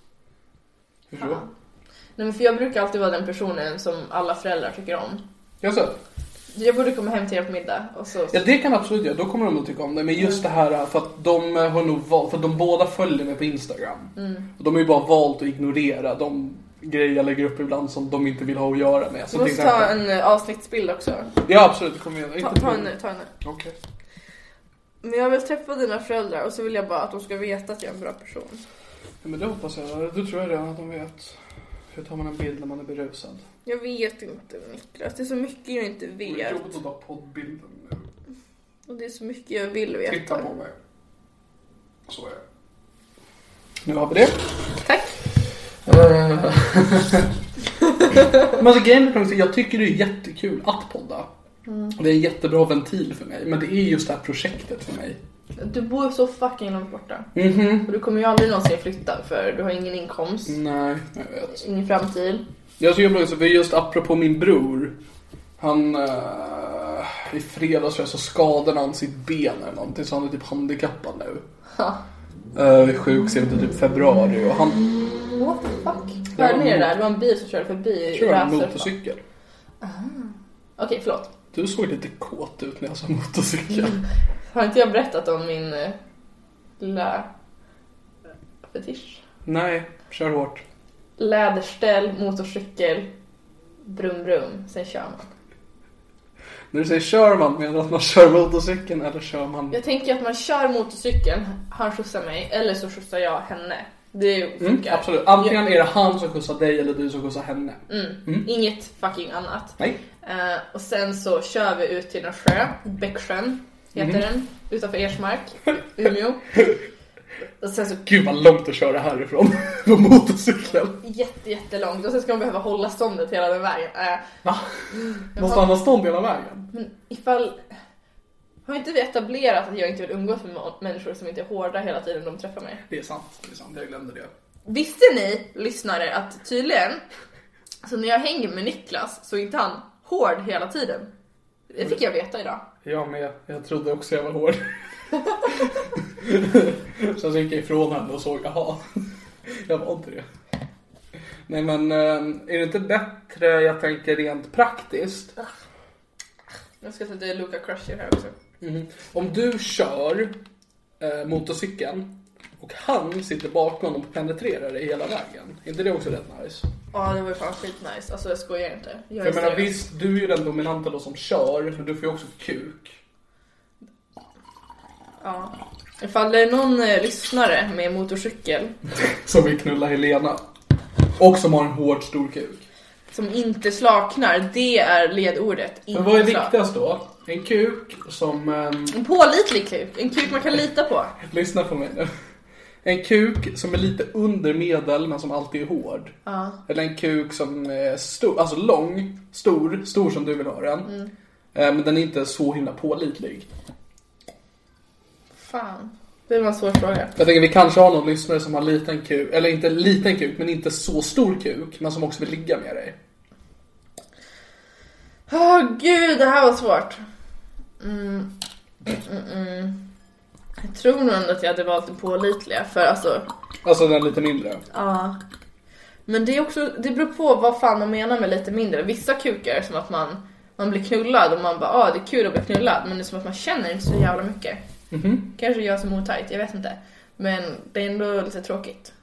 Hur så? Ja. Nej men för jag brukar alltid vara den personen som alla föräldrar tycker om. Jag sa, Jag borde komma hem till er på middag och så... ja det kan jag absolut göra, då kommer de att tycka om det. Men just det här för att de eh, har nog valt, för att de båda följer mig på Instagram. Mm. Och de har ju bara valt att ignorera de grejer jag lägger upp ibland som de inte vill ha att göra med. Du Så till måste ta exempel- en eh, avsnittsbild också. Ja absolut, det kommer jag göra. Ta, Inte- ta en nu, ta en nu. Okej. Men jag vill träffa dina föräldrar och så vill jag bara att de ska veta att jag är en bra person. Ja, men det hoppas jag. Du tror jag redan att de vet. Hur tar man en bild när man är berusad? Jag vet inte Niklas, det är så mycket jag inte vet. att ta poddbilden nu. Och det är så mycket jag vill veta. mig. Så är det. Nu har vi det. Tack! Men alltså, grejen är faktiskt att jag tycker det är jättekul att podda. Och det är en jättebra ventil för mig. Men det är just det här projektet för mig. Du bor så fucking långt borta. Mm. Och du kommer ju aldrig någonsin flytta för du har ingen inkomst, Nej, jag vet. ingen framtid. Jag tycker också, för just apropå min bror. Han... eh, I fredags tror jag så skadade han sitt ben eller någonting så han är typ handikappad nu. Ha. Uh, sjukskriven till typ februari och han What the fuck? Det var Hörde ni det en där? Det var en bil som körde förbi i kör en Räsö. motorcykel. Okej, förlåt. Du såg lite kåt ut när jag sa motorcykel. Har inte jag berättat om min eh, lilla fetisch? Nej, kör hårt. Läderställ, motorcykel, brum brum, sen kör man. När du säger kör man, menar du att man kör motorcykeln eller kör man... Jag tänker att man kör motorcykeln, han skjutsar mig, eller så skjutsar jag henne. Det Mm, funkar. absolut. Antingen är det han som skjutsar dig eller du som skjutsar henne. Mm. Inget fucking annat. Nej. Eh, och sen så kör vi ut till en sjö, Bäcksjön heter Mhm. den, *laughs* utanför Ersmark, Umeå. Och sen så Gud vad långt att köra härifrån *laughs* på motorcykeln. jätte, jättelångt och sen ska man behöva hålla ståndet hela den vägen. Eh, Va? Måste han ha stånd hela vägen? men ifall... Har inte vi etablerat att jag inte vill umgås med må- människor som inte är hårda hela tiden de träffar mig? Det är sant, det är sant. Jag glömde det. Visste ni, lyssnare, att tydligen så när jag hänger med Niklas så är inte han hård hela tiden. Det fick jag veta idag. Jag med. Jag trodde också jag var *laughs* hård. Sen så gick jag ifrån henne och såg, jaha. Jag var inte det. Nej men, eh, är det inte bättre, jag tänker rent praktiskt, Jag ska sätta Luca Crusher här också. om du kör eh, motorcykeln och han sitter bakom och penetrerar dig hela vägen. Är inte det också rätt nice? Ja, det var ju fan skitnice. Alltså jag skojar inte. Jag är Jag menar seriös. visst, du är ju den dominanta då som kör, men du får ju också kuk. Ja. Ifall det är någon eh, lyssnare med motorcykel Som vill knulla Helena. Och som har en hård stor kuk. som inte slaknar, det är ledordet. Men vad är inte slak. viktigast då? En kuk som... ehm, En pålitlig kuk, en kuk man kan lita på. lyssna på mig nu. En kuk som är lite under medel men som alltid är hård. Eller en kuk som är stor, alltså lång, stor, stor som du vill ha den. Eh, Men den är inte så himla pålitlig. Fan, det var en svår fråga. Jag tänker vi kanske har någon lyssnare som har liten kuk, eller inte liten kuk, men inte så stor kuk, men som också vill ligga med dig. Åh gud, det här var svårt. Mm. Mm, mm. Jag tror nog ändå att jag hade valt den pålitliga för alltså, Alltså den lite mindre. ja. Men det är också, det beror på vad fan man menar med lite mindre. Vissa kukar är som att man, man blir knullad och man bara ah det är kul att bli knullad men det är som att man känner inte så jävla mycket. Kanske jag som är otajt, jag vet inte. Men det är ändå lite tråkigt.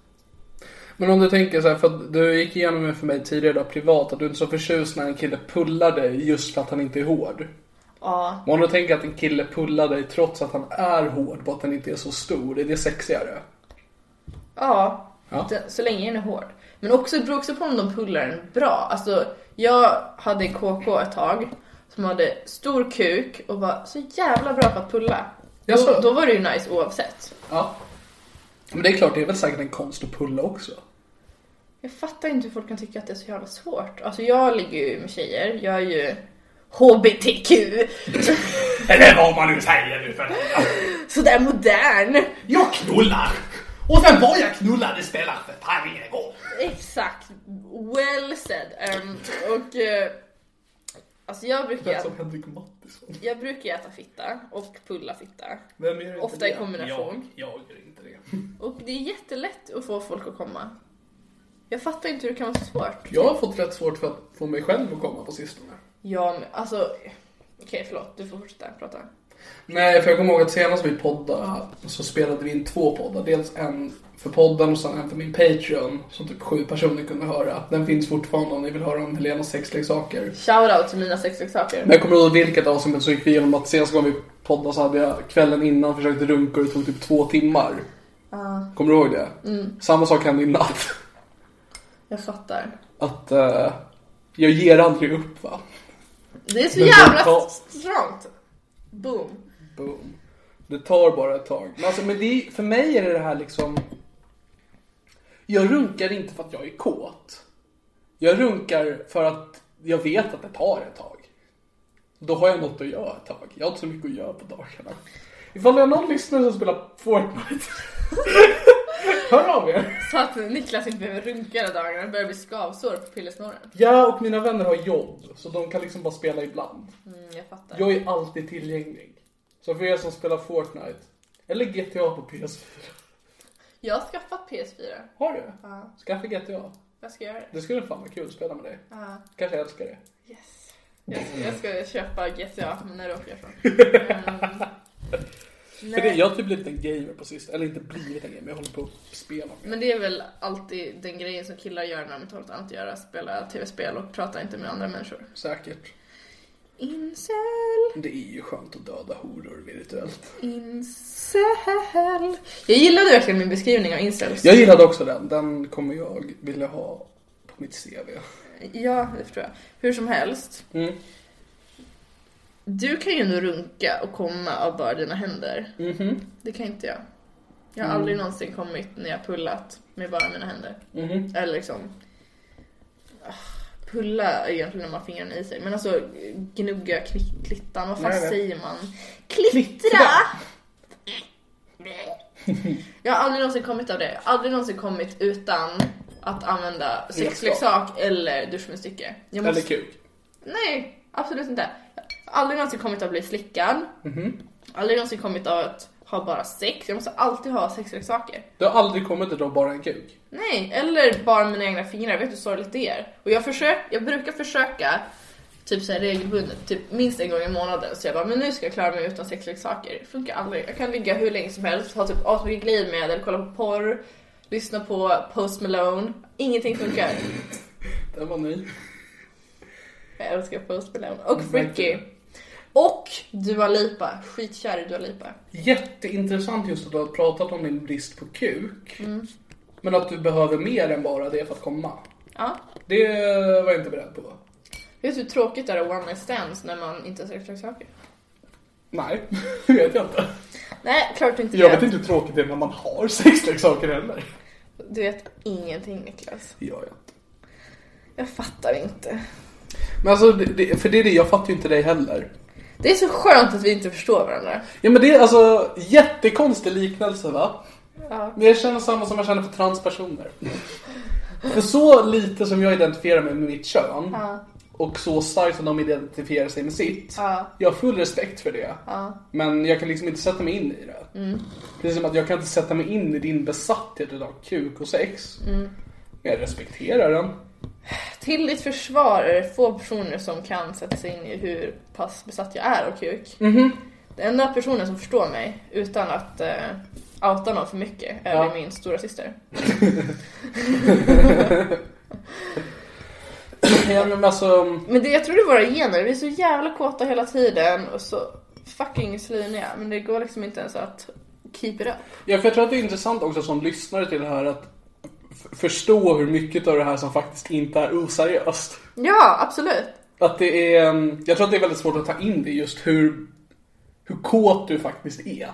Men om du tänker så här, för att du gick igenom det för mig tidigare då, privat, att du är inte är så förtjust när en kille pullar dig just för att han inte är hård. Ja, Men om du tänker att en kille pullar dig trots att han är hård på att han inte är så stor, är det sexigare? ja. Ja. Den- Så länge den är hård. Men också, det beror också på om de pullar den bra. Alltså, jag hade en KK ett tag som hade stor kuk och var så jävla bra på att pulla. Då, Jaså? då var det ju nice oavsett. Ja. Men det är klart, det är väl säkert en konst att pulla också. Jag fattar inte hur folk kan tycka att det är så jävla svårt. Alltså jag ligger ju med tjejer, jag är ju HBTQ, *laughs* Eller vad man nu säger nu för sådär modern. Jag knullar! Och sen var jag knullar, det spelar för fan ingen roll. Exakt, well said. Ehm, och eh, alltså jag brukar ju Det äta, som Henrik Mattisson. jag brukar ju äta fitta och pulla fitta. Vem gör inte Ofta det? i kombination. Jag, jag gör inte det. Och det är jättelätt att få folk att komma. Jag fattar inte hur det kan vara så svårt. Jag har fått rätt svårt för att få mig själv att komma på sistone. Ja, men alltså... Okej, förlåt. Du får fortsätta prata. Nej, för jag kommer ihåg att senast vi poddade så spelade vi in två poddar. Dels en för podden och sen en för min Patreon som typ sju personer kunde höra. Den finns fortfarande om ni vill höra om Helenas sexleksaker. Shoutout till mina sexleksaker. Men jag kommer ihåg vilket avsnitt men så gick vi igenom att senast gången vi poddade så hade jag kvällen innan försökt runka och det tog typ två timmar. Kommer du ihåg det? Samma sak hände i natt. Jag fattar. Att eh, jag ger aldrig upp va. Det är så Men jävla de tar- strongt. Boom. Boom. Det tar bara ett tag. Men, alltså, men det är, för mig är det det här liksom... Jag runkar inte för att jag är kåt. Jag runkar för att jag vet att det tar ett tag. Då har jag något att göra ett tag. Jag har inte så mycket att göra på dagarna. Ifall jag har någon lyssnare som spelar Fortnite. *laughs* Hör av er. Så att Niklas inte behöver runka hela dagarna. Det börjar bli skavsår på pillesnorren. Jag och mina vänner har jobb, så de kan liksom bara spela ibland. Mm, jag fattar. Jag är alltid tillgänglig. Så för er som spelar Fortnite, eller GTA på PS4. Jag har skaffat PS4. Har du? Ja. Skaffa GTA. Jag ska göra det. Det skulle fan vara kul att spela med dig. Ja. Kanske älskar det. Yes. Jag ska, jag ska köpa GTA när du åker ifrån. För det, jag har typ blivit en gamer på sist. Eller inte blivit en gamer, jag håller på att spela med. Men det är väl alltid den grejen som killar gör när de inte har något annat att göra. Spela tv-spel och prata inte med andra människor. Säkert. Incel, Det är ju skönt att döda horor virtuellt. incel. Jag gillade verkligen min beskrivning av incels. Jag gillade också den. Den kommer jag vilja ha på mitt CV. Ja, det förstår jag. Hur som helst. Mm. Du kan ju ändå runka och komma av bara dina händer. Mm-hmm. Det kan inte jag. Jag har aldrig någonsin kommit när jag pullat med bara mina händer. Mm-hmm. Eller liksom... ah, Pulla är egentligen när man har fingrarna i sig. Men alltså gnugga, kli- klittan, vad fan Nej, nej. säger man? Klittra! jag har aldrig någonsin kommit av det. Jag har aldrig någonsin kommit utan att använda sexleksak eller duschmunstycke. Jag Eller måste- kuk. Nej, absolut inte. Jag har aldrig någonsin kommit att bli slickad. Mhm. Aldrig någonsin kommit att ha bara sex. Jag måste alltid ha sexleksaker. Du har aldrig kommit att dra bara en kuk. Nej, eller bara mina egna fingrar. Vet du hur sorgligt det är? Och jag, försök, jag brukar försöka typ så här regelbundet, typ minst en gång i månaden. Så jag bara, men nu ska jag klara mig utan sexleksaker. Det funkar aldrig. Jag kan ligga hur länge som helst, ha typ asmycket glidmedel, kolla på porr, lyssna på Post Malone. Ingenting funkar. Den var ny. Jag älskar Post Malone. Och Fricky. Och Dua Lipa. Skitkär i Dua Lipa. Jätteintressant just att du har pratat om Mm. din brist på kuk. Men att du behöver mer än bara det för att komma. Ja. Det var jag inte beredd på. Vet du hur tråkigt det är att one night stands när man inte ens har sagt saker? Nej, *laughs* det vet jag inte. Nej, klart du inte Jag vet. vet inte hur tråkigt det är när man har sexleksaker heller. Du vet ingenting Niklas. Det gör jag inte. Jag fattar inte. Men alltså, det- det, för det är det, jag fattar ju inte dig heller. Det är så skönt att vi inte förstår varandra. Ja men det är alltså jättekonstig liknelse va? Ja. Men jag känner samma som jag känner för *laughs* transpersoner. för så lite som jag identifierar mig med mitt kön och så starkt som de identifierar sig med sitt. Ja. Jag har full respekt för det. Men jag kan liksom inte sätta mig in i det. Mm. Precis som att jag kan inte sätta mig in i din besatthet av kuk och sex. Mm. Men jag respekterar den. *clears throat* Till ditt försvar är det få personer som kan sätta sig in i hur pass besatt jag är av kuk. Den enda personen som förstår mig utan att uh, outa någon för mycket är Ja. min stora syster. Ja, men alltså, Men det, jag tror det är våra gener, vi är så jävla kåta hela tiden och så fucking sliniga. Men det går liksom inte ens att keep it up. Ja, för jag tror att det är intressant också som lyssnare till det här att f- förstå hur mycket av det här som faktiskt inte är oseriöst. Ja, absolut. Att det är, ehm, jag tror att det är väldigt svårt att ta in det just hur, hur kåt du faktiskt är.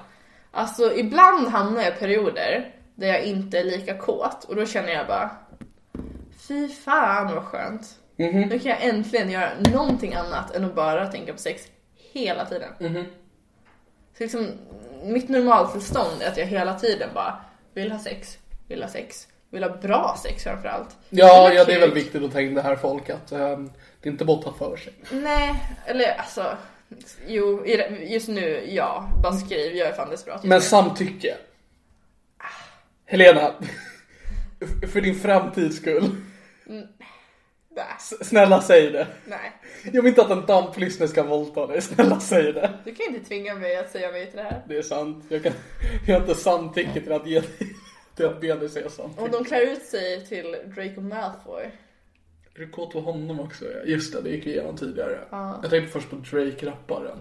Alltså ibland hamnar jag i perioder där jag inte är lika kåt och då känner jag bara Fy fan vad skönt. Mhm. Nu kan jag äntligen göra någonting annat än att bara tänka på sex hela tiden. Mhm. Så liksom, mitt normaltillstånd är att jag hela tiden bara vill ha sex, vill ha sex, vill ha bra sex framförallt. Ja, Vill ha ja det är väl kuk. viktigt att ta in det här folk att ehm, det är inte bara att ta för sig. Nej, eller alltså Jo, i det- just nu ja. Bara skriv, jag är fan desperat. Men samtycke. Helena, *laughs* f- för din framtids skull. Nej, s- Snälla säg det. Nej, Jag vill inte att en damplyssnare ska våldta dig. Snälla säg det. du kan inte tvinga mig att säga nej till det här. Det är sant. Jag, kan, jag har inte samtycke till att, ge, till att be dig säga samtycke. Om de klär ut sig till Draco Malfoy. Är du kåt på honom också? ja? Just det, det gick vi igenom tidigare. Jag tänkte först på Drake-rapparen.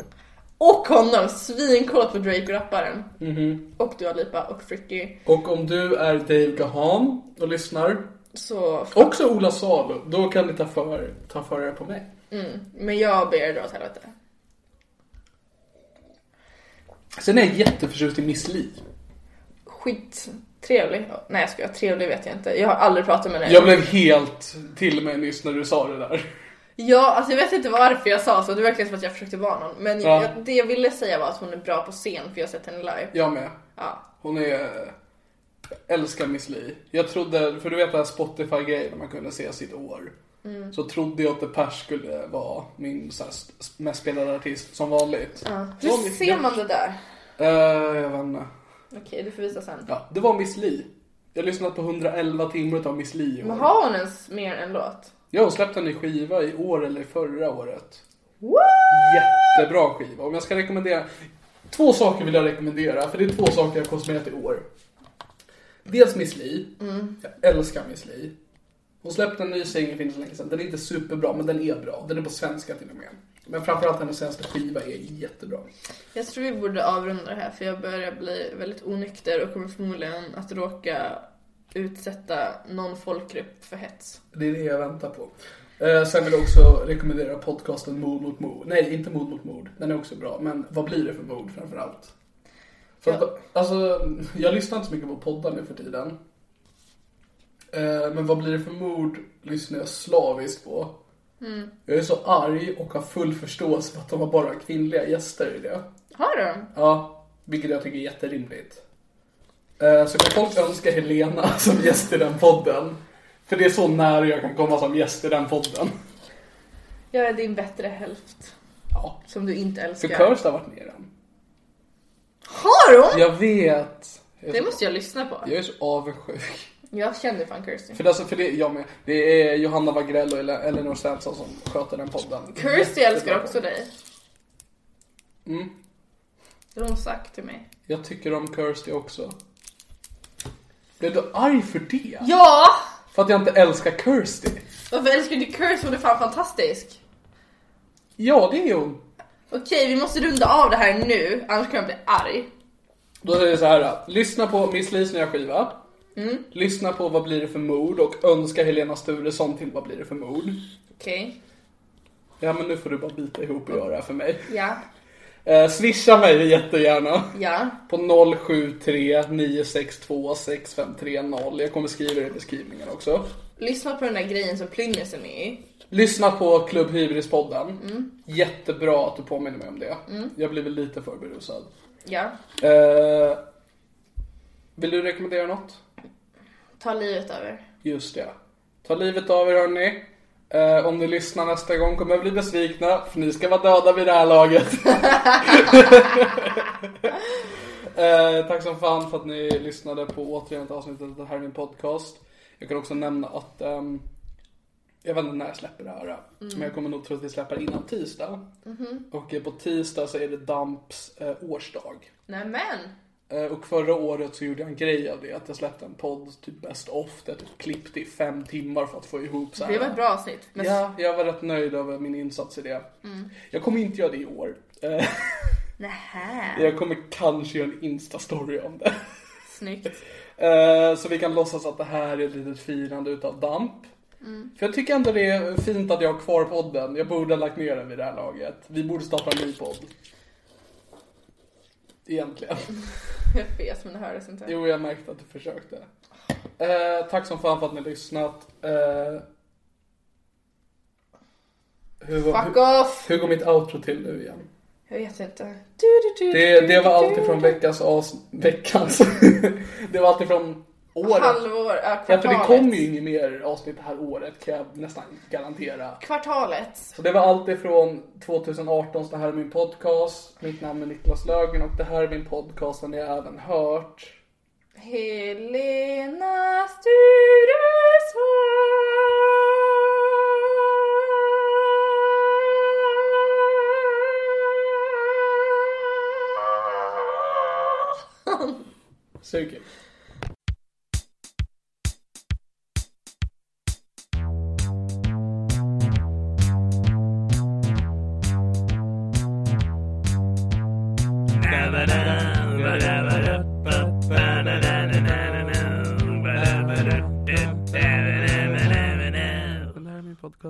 Och honom! Svinkåt på Draco-rapparen. Mhm. Och Dua Lipa och Fricky. Och om du är Dave Gahan och lyssnar, Så... också Ola Salo, då kan ni ta för, ta för er på mig. Men jag ber er dra åt helvete. Sen är jag jätteförtjust i Miss Li. Skittrevlig. Nej jag skojar, trevlig vet jag inte. Jag har aldrig pratat med henne. Jag blev helt till mig nyss när du sa det där. Ja, alltså jag vet inte varför jag sa så. Det var verkligen som att jag försökte vara någon. Men Ja. jag, det jag ville säga var att hon är bra på scen för jag har sett henne live. Jag med. Ja. Hon är... Älskar Miss Li. Jag trodde, för du vet det här Spotify-grejen, man kunde se sitt år. Mm. Så trodde jag att The Pers skulle vara min så här, s- mest spelade artist som vanligt. Det var Hur Miss ser Li. man det där? Eh, jag vet inte. Okej, du får visa sen. Ja, det var Miss Li. Jag har lyssnat på 111 timmar av Miss Li i Men år. har hon ens mer än låt? Ja, hon släppte en ny skiva i år eller förra året. What? Jättebra skiva. Om jag ska rekommendera... Två saker vill jag rekommendera, för det är två saker jag har konsumerat i år. Dels Miss Li. Jag älskar Miss Li. Hon släppte en ny singel för inte så länge sedan. Den är inte superbra, men den är bra. Den är på svenska till och med. Men framförallt hennes senaste skiva är jättebra. Jag tror vi borde avrunda det här för jag börjar bli väldigt onykter och kommer förmodligen att råka utsätta någon folkgrupp för hets. Det är det jag väntar på. Eh, sen vill jag också rekommendera podcasten Mord mot mord. Nej, inte Mord mot mord. Den är också bra. Men vad blir det för mord framförallt? För att, alltså, jag lyssnar inte så mycket på poddar nu för tiden. Eh, men vad blir det för mord lyssnar jag slaviskt på. Jag är så arg och har full förståelse för att de har bara kvinnliga gäster i det. Har du? Ja, vilket jag tycker är jätterimligt. Eh, Så kan folk önska Helena *laughs* som gäst i den podden. För det är så nära jag kan komma som gäst i den podden. Jag är din bättre hälft. Ja. Som du inte För älskar. Kirst har varit med i den. Har hon? Jag vet. Jag Det är så, måste jag lyssna på. jag är så avundsjuk. Jag känner fan Kirsty. För, det, alltså, för det, jag med, det är Johanna Wagrell och Ele- Elinor Svensson som sköter den podden. Kirsty älskar också dig. Mm. Det har hon sagt till mig. Jag tycker om Kirsty också. Blev du arg för det? Ja! För att jag inte älskar Kirsty? Varför älskar du Kirsty? Hon är fan fantastisk. Ja, det är hon. Okej, vi måste runda av det här nu, annars kommer jag bli arg. Då säger jag så här. Lyssna på Miss Lis nya skiva. Lyssna på Vad blir det för mord och önska Helena Sturesson till Vad blir det för mord. Okej. Ja men nu får du bara bita ihop och göra det här för mig. Ja. Eh, swisha mig jättegärna. Ja. På 073 962 6530. Jag kommer skriva det i beskrivningen också. Lyssna på den där grejen som Plynnis är med i. Lyssna på Klubb Hybris-podden. Jättebra att du påminner mig om det. Jag blev väl lite för berusad. Ja. Eh, vill du rekommendera något? Ta livet av er. Just det. Ta livet av er hörni. Eh, om ni lyssnar nästa gång kommer jag bli besvikna för ni ska vara döda vid det här laget. eh, tack som fan för att ni lyssnade på återigen ett avsnitt av det här är min podcast. Jag kan också nämna att ehm, jag vet inte när jag släpper det här. eh, Men jag kommer nog tro att vi släpper innan tisdag. Och eh, på tisdag så är det Damps eh, årsdag. Nämen! Eh, Och förra året så gjorde jag en grej av det, att jag släppte en podd, typ Best of, där jag typ klippte i fem timmar för att få ihop så här. Det var ett bra avsnitt. Men Ja, jag var rätt nöjd över min insats i det. Mm. Jag kommer inte göra det i år. Eh, Nähä. Jag kommer kanske göra en instastory om det. Snyggt. Eh, Så vi kan låtsas att det här är ett litet firande utav DAMP. Mm. För jag tycker ändå det är fint att jag har kvar podden. Jag borde ha lagt ner den vid det här laget. Vi borde starta en ny podd. Egentligen. Jag fes men det hördes inte. Jo, jag märkte att du försökte. Eh, tack som fan för att ni har lyssnat. Eh, hur, var- Fuck hur, off! hur går mitt outro till nu igen? Jag vet inte. Du, du, du, Det, du, det var du, allt du. ifrån veckans avs... Veckans? *laughs* det var allt ifrån året. Halvår, ja, Ja, för det kvartalet. kommer ju inget mer avsnitt det här året kan jag nästan garantera. Kvartalet. Så det var allt ifrån 2018 så det här är min podcast. Mitt namn är Niklas Lögen och det här är min podcast. Den har jag även hört. Helena Sturesson! Suger.